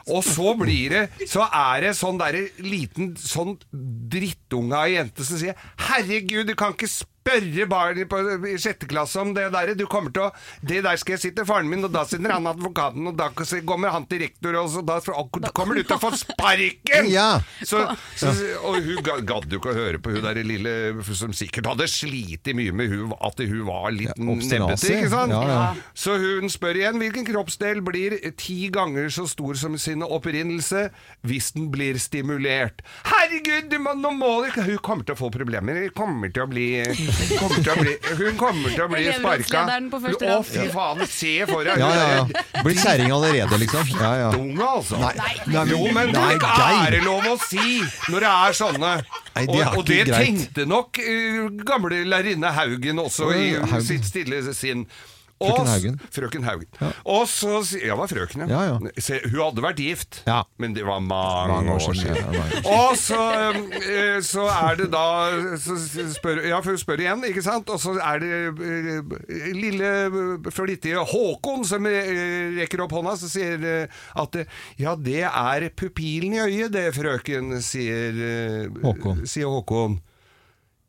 Speaker 3: Og så blir det Så er det sånn derre liten sånn drittunge av jente som sier 'Herregud, du kan ikke sp spørre barn på, i sjette klasse om det der. Du kommer til å Det der skal jeg si til faren min, og da sender han advokaten, og da kommer han til rektor, og så da og kommer du til å få sparken!
Speaker 1: Ja.
Speaker 3: Så, så, og hun ga- gadd jo ikke å høre på hun der lille som sikkert hadde slitt mye med hun, at hun var litt nebbete,
Speaker 1: obstinasi.
Speaker 3: ikke sant?
Speaker 1: Ja, ja.
Speaker 3: Så hun spør igjen hvilken kroppsdel blir ti ganger så stor som sin opprinnelse hvis den blir stimulert. Herregud, du må, nå må du ikke Hun kommer til å få problemer. Hun kommer til å bli, kommer til å bli Hun kommer til å bli sparka.
Speaker 2: Elevrådslederen på første
Speaker 3: Å,
Speaker 2: rad.
Speaker 3: fy faen, se for
Speaker 1: Ja,
Speaker 3: deg
Speaker 1: ja, ja. Blir kjerring allerede, liksom. Ja, ja.
Speaker 3: Unge, altså.
Speaker 1: Nei, nei,
Speaker 3: jo, men det
Speaker 1: nei,
Speaker 3: er
Speaker 1: Geir.
Speaker 3: lov å si når det er sånne.
Speaker 1: Nei, det
Speaker 3: og,
Speaker 1: er
Speaker 3: og
Speaker 1: ikke
Speaker 3: det
Speaker 1: greit.
Speaker 3: tenkte nok eh, gamle lærerinne Haugen også i
Speaker 1: Ja, Haugen.
Speaker 3: sitt stille sinn.
Speaker 1: Frøken
Speaker 3: Og s-
Speaker 1: Haugen.
Speaker 3: Frøken Haugen. Og så si- Ja, det var frøken, ja. Se, hun hadde vært gift, men det var mange,
Speaker 1: Mange år
Speaker 3: år
Speaker 1: siden,
Speaker 3: siden.
Speaker 1: ja, mange
Speaker 3: og så, eh, så er det da så spør, Ja, for hun spør igjen, ikke sant? Og så er det eh, lille eh, flittige Håkon som eh, rekker opp hånda, så sier eh, at eh, Ja, det er pupillen i øyet, det, frøken, sier eh,
Speaker 1: Håkon.
Speaker 3: Sier Håkon.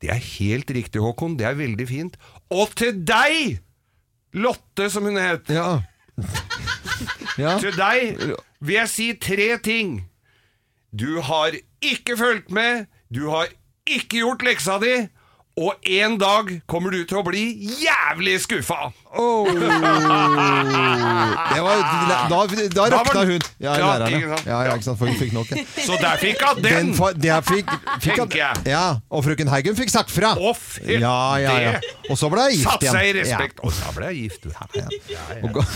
Speaker 3: Det er helt riktig, Håkon. Det er veldig fint. Og til deg, Lotte, som hun het. Til deg vil jeg si tre ting. Du har ikke fulgt med, du har ikke gjort leksa di, og en dag kommer du til å bli jævlig skuffa.
Speaker 1: Det var, da da
Speaker 3: Da var-
Speaker 1: rakna hun. Ja,
Speaker 3: Ja, ikke
Speaker 1: lærerne.
Speaker 3: sant?
Speaker 1: Ja, ja, ikke sant, for hun fikk nok.
Speaker 3: Så der fikk hun den.
Speaker 1: fa- der fikk, fikk
Speaker 3: Tenker jeg.
Speaker 1: Ja, og frøken Haugen fikk sagt fra. ja, ja, ja.
Speaker 3: det.
Speaker 1: Og så ble hun gift
Speaker 3: Satt
Speaker 1: igjen.
Speaker 3: seg i respekt. Og da ble jeg gift. Ja, ja, ja.
Speaker 1: Og, ga- da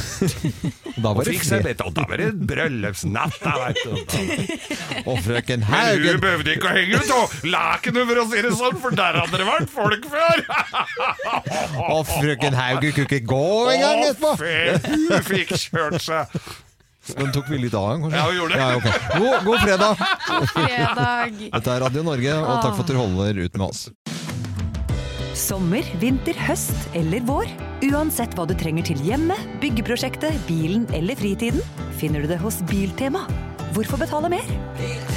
Speaker 3: Og
Speaker 1: var det
Speaker 3: fikk seg
Speaker 1: fred.
Speaker 3: litt, og da var det bryllupsnatt. da, vet du.
Speaker 1: Og frøken
Speaker 3: Men hun
Speaker 1: Haugen
Speaker 3: behøvde ikke å henge ut og lakenet, for å si det sånn, for der hadde det vært folk før!
Speaker 1: Og frøken Haugen kunne ikke gå engang etterpå!
Speaker 3: Å, fy, Hun fikk kjørt seg.
Speaker 1: Den tok vi litt av, kanskje?
Speaker 3: Ja, vi gjorde det.
Speaker 1: ok. god, god fredag!
Speaker 17: fredag.
Speaker 1: Dette er Radio Norge, og takk for at dere holder ut med oss.
Speaker 17: Sommer, vinter, høst eller vår. Uansett hva du trenger til hjemmet, byggeprosjektet, bilen eller fritiden, finner du det hos Biltema. Hvorfor betale mer? Biltema.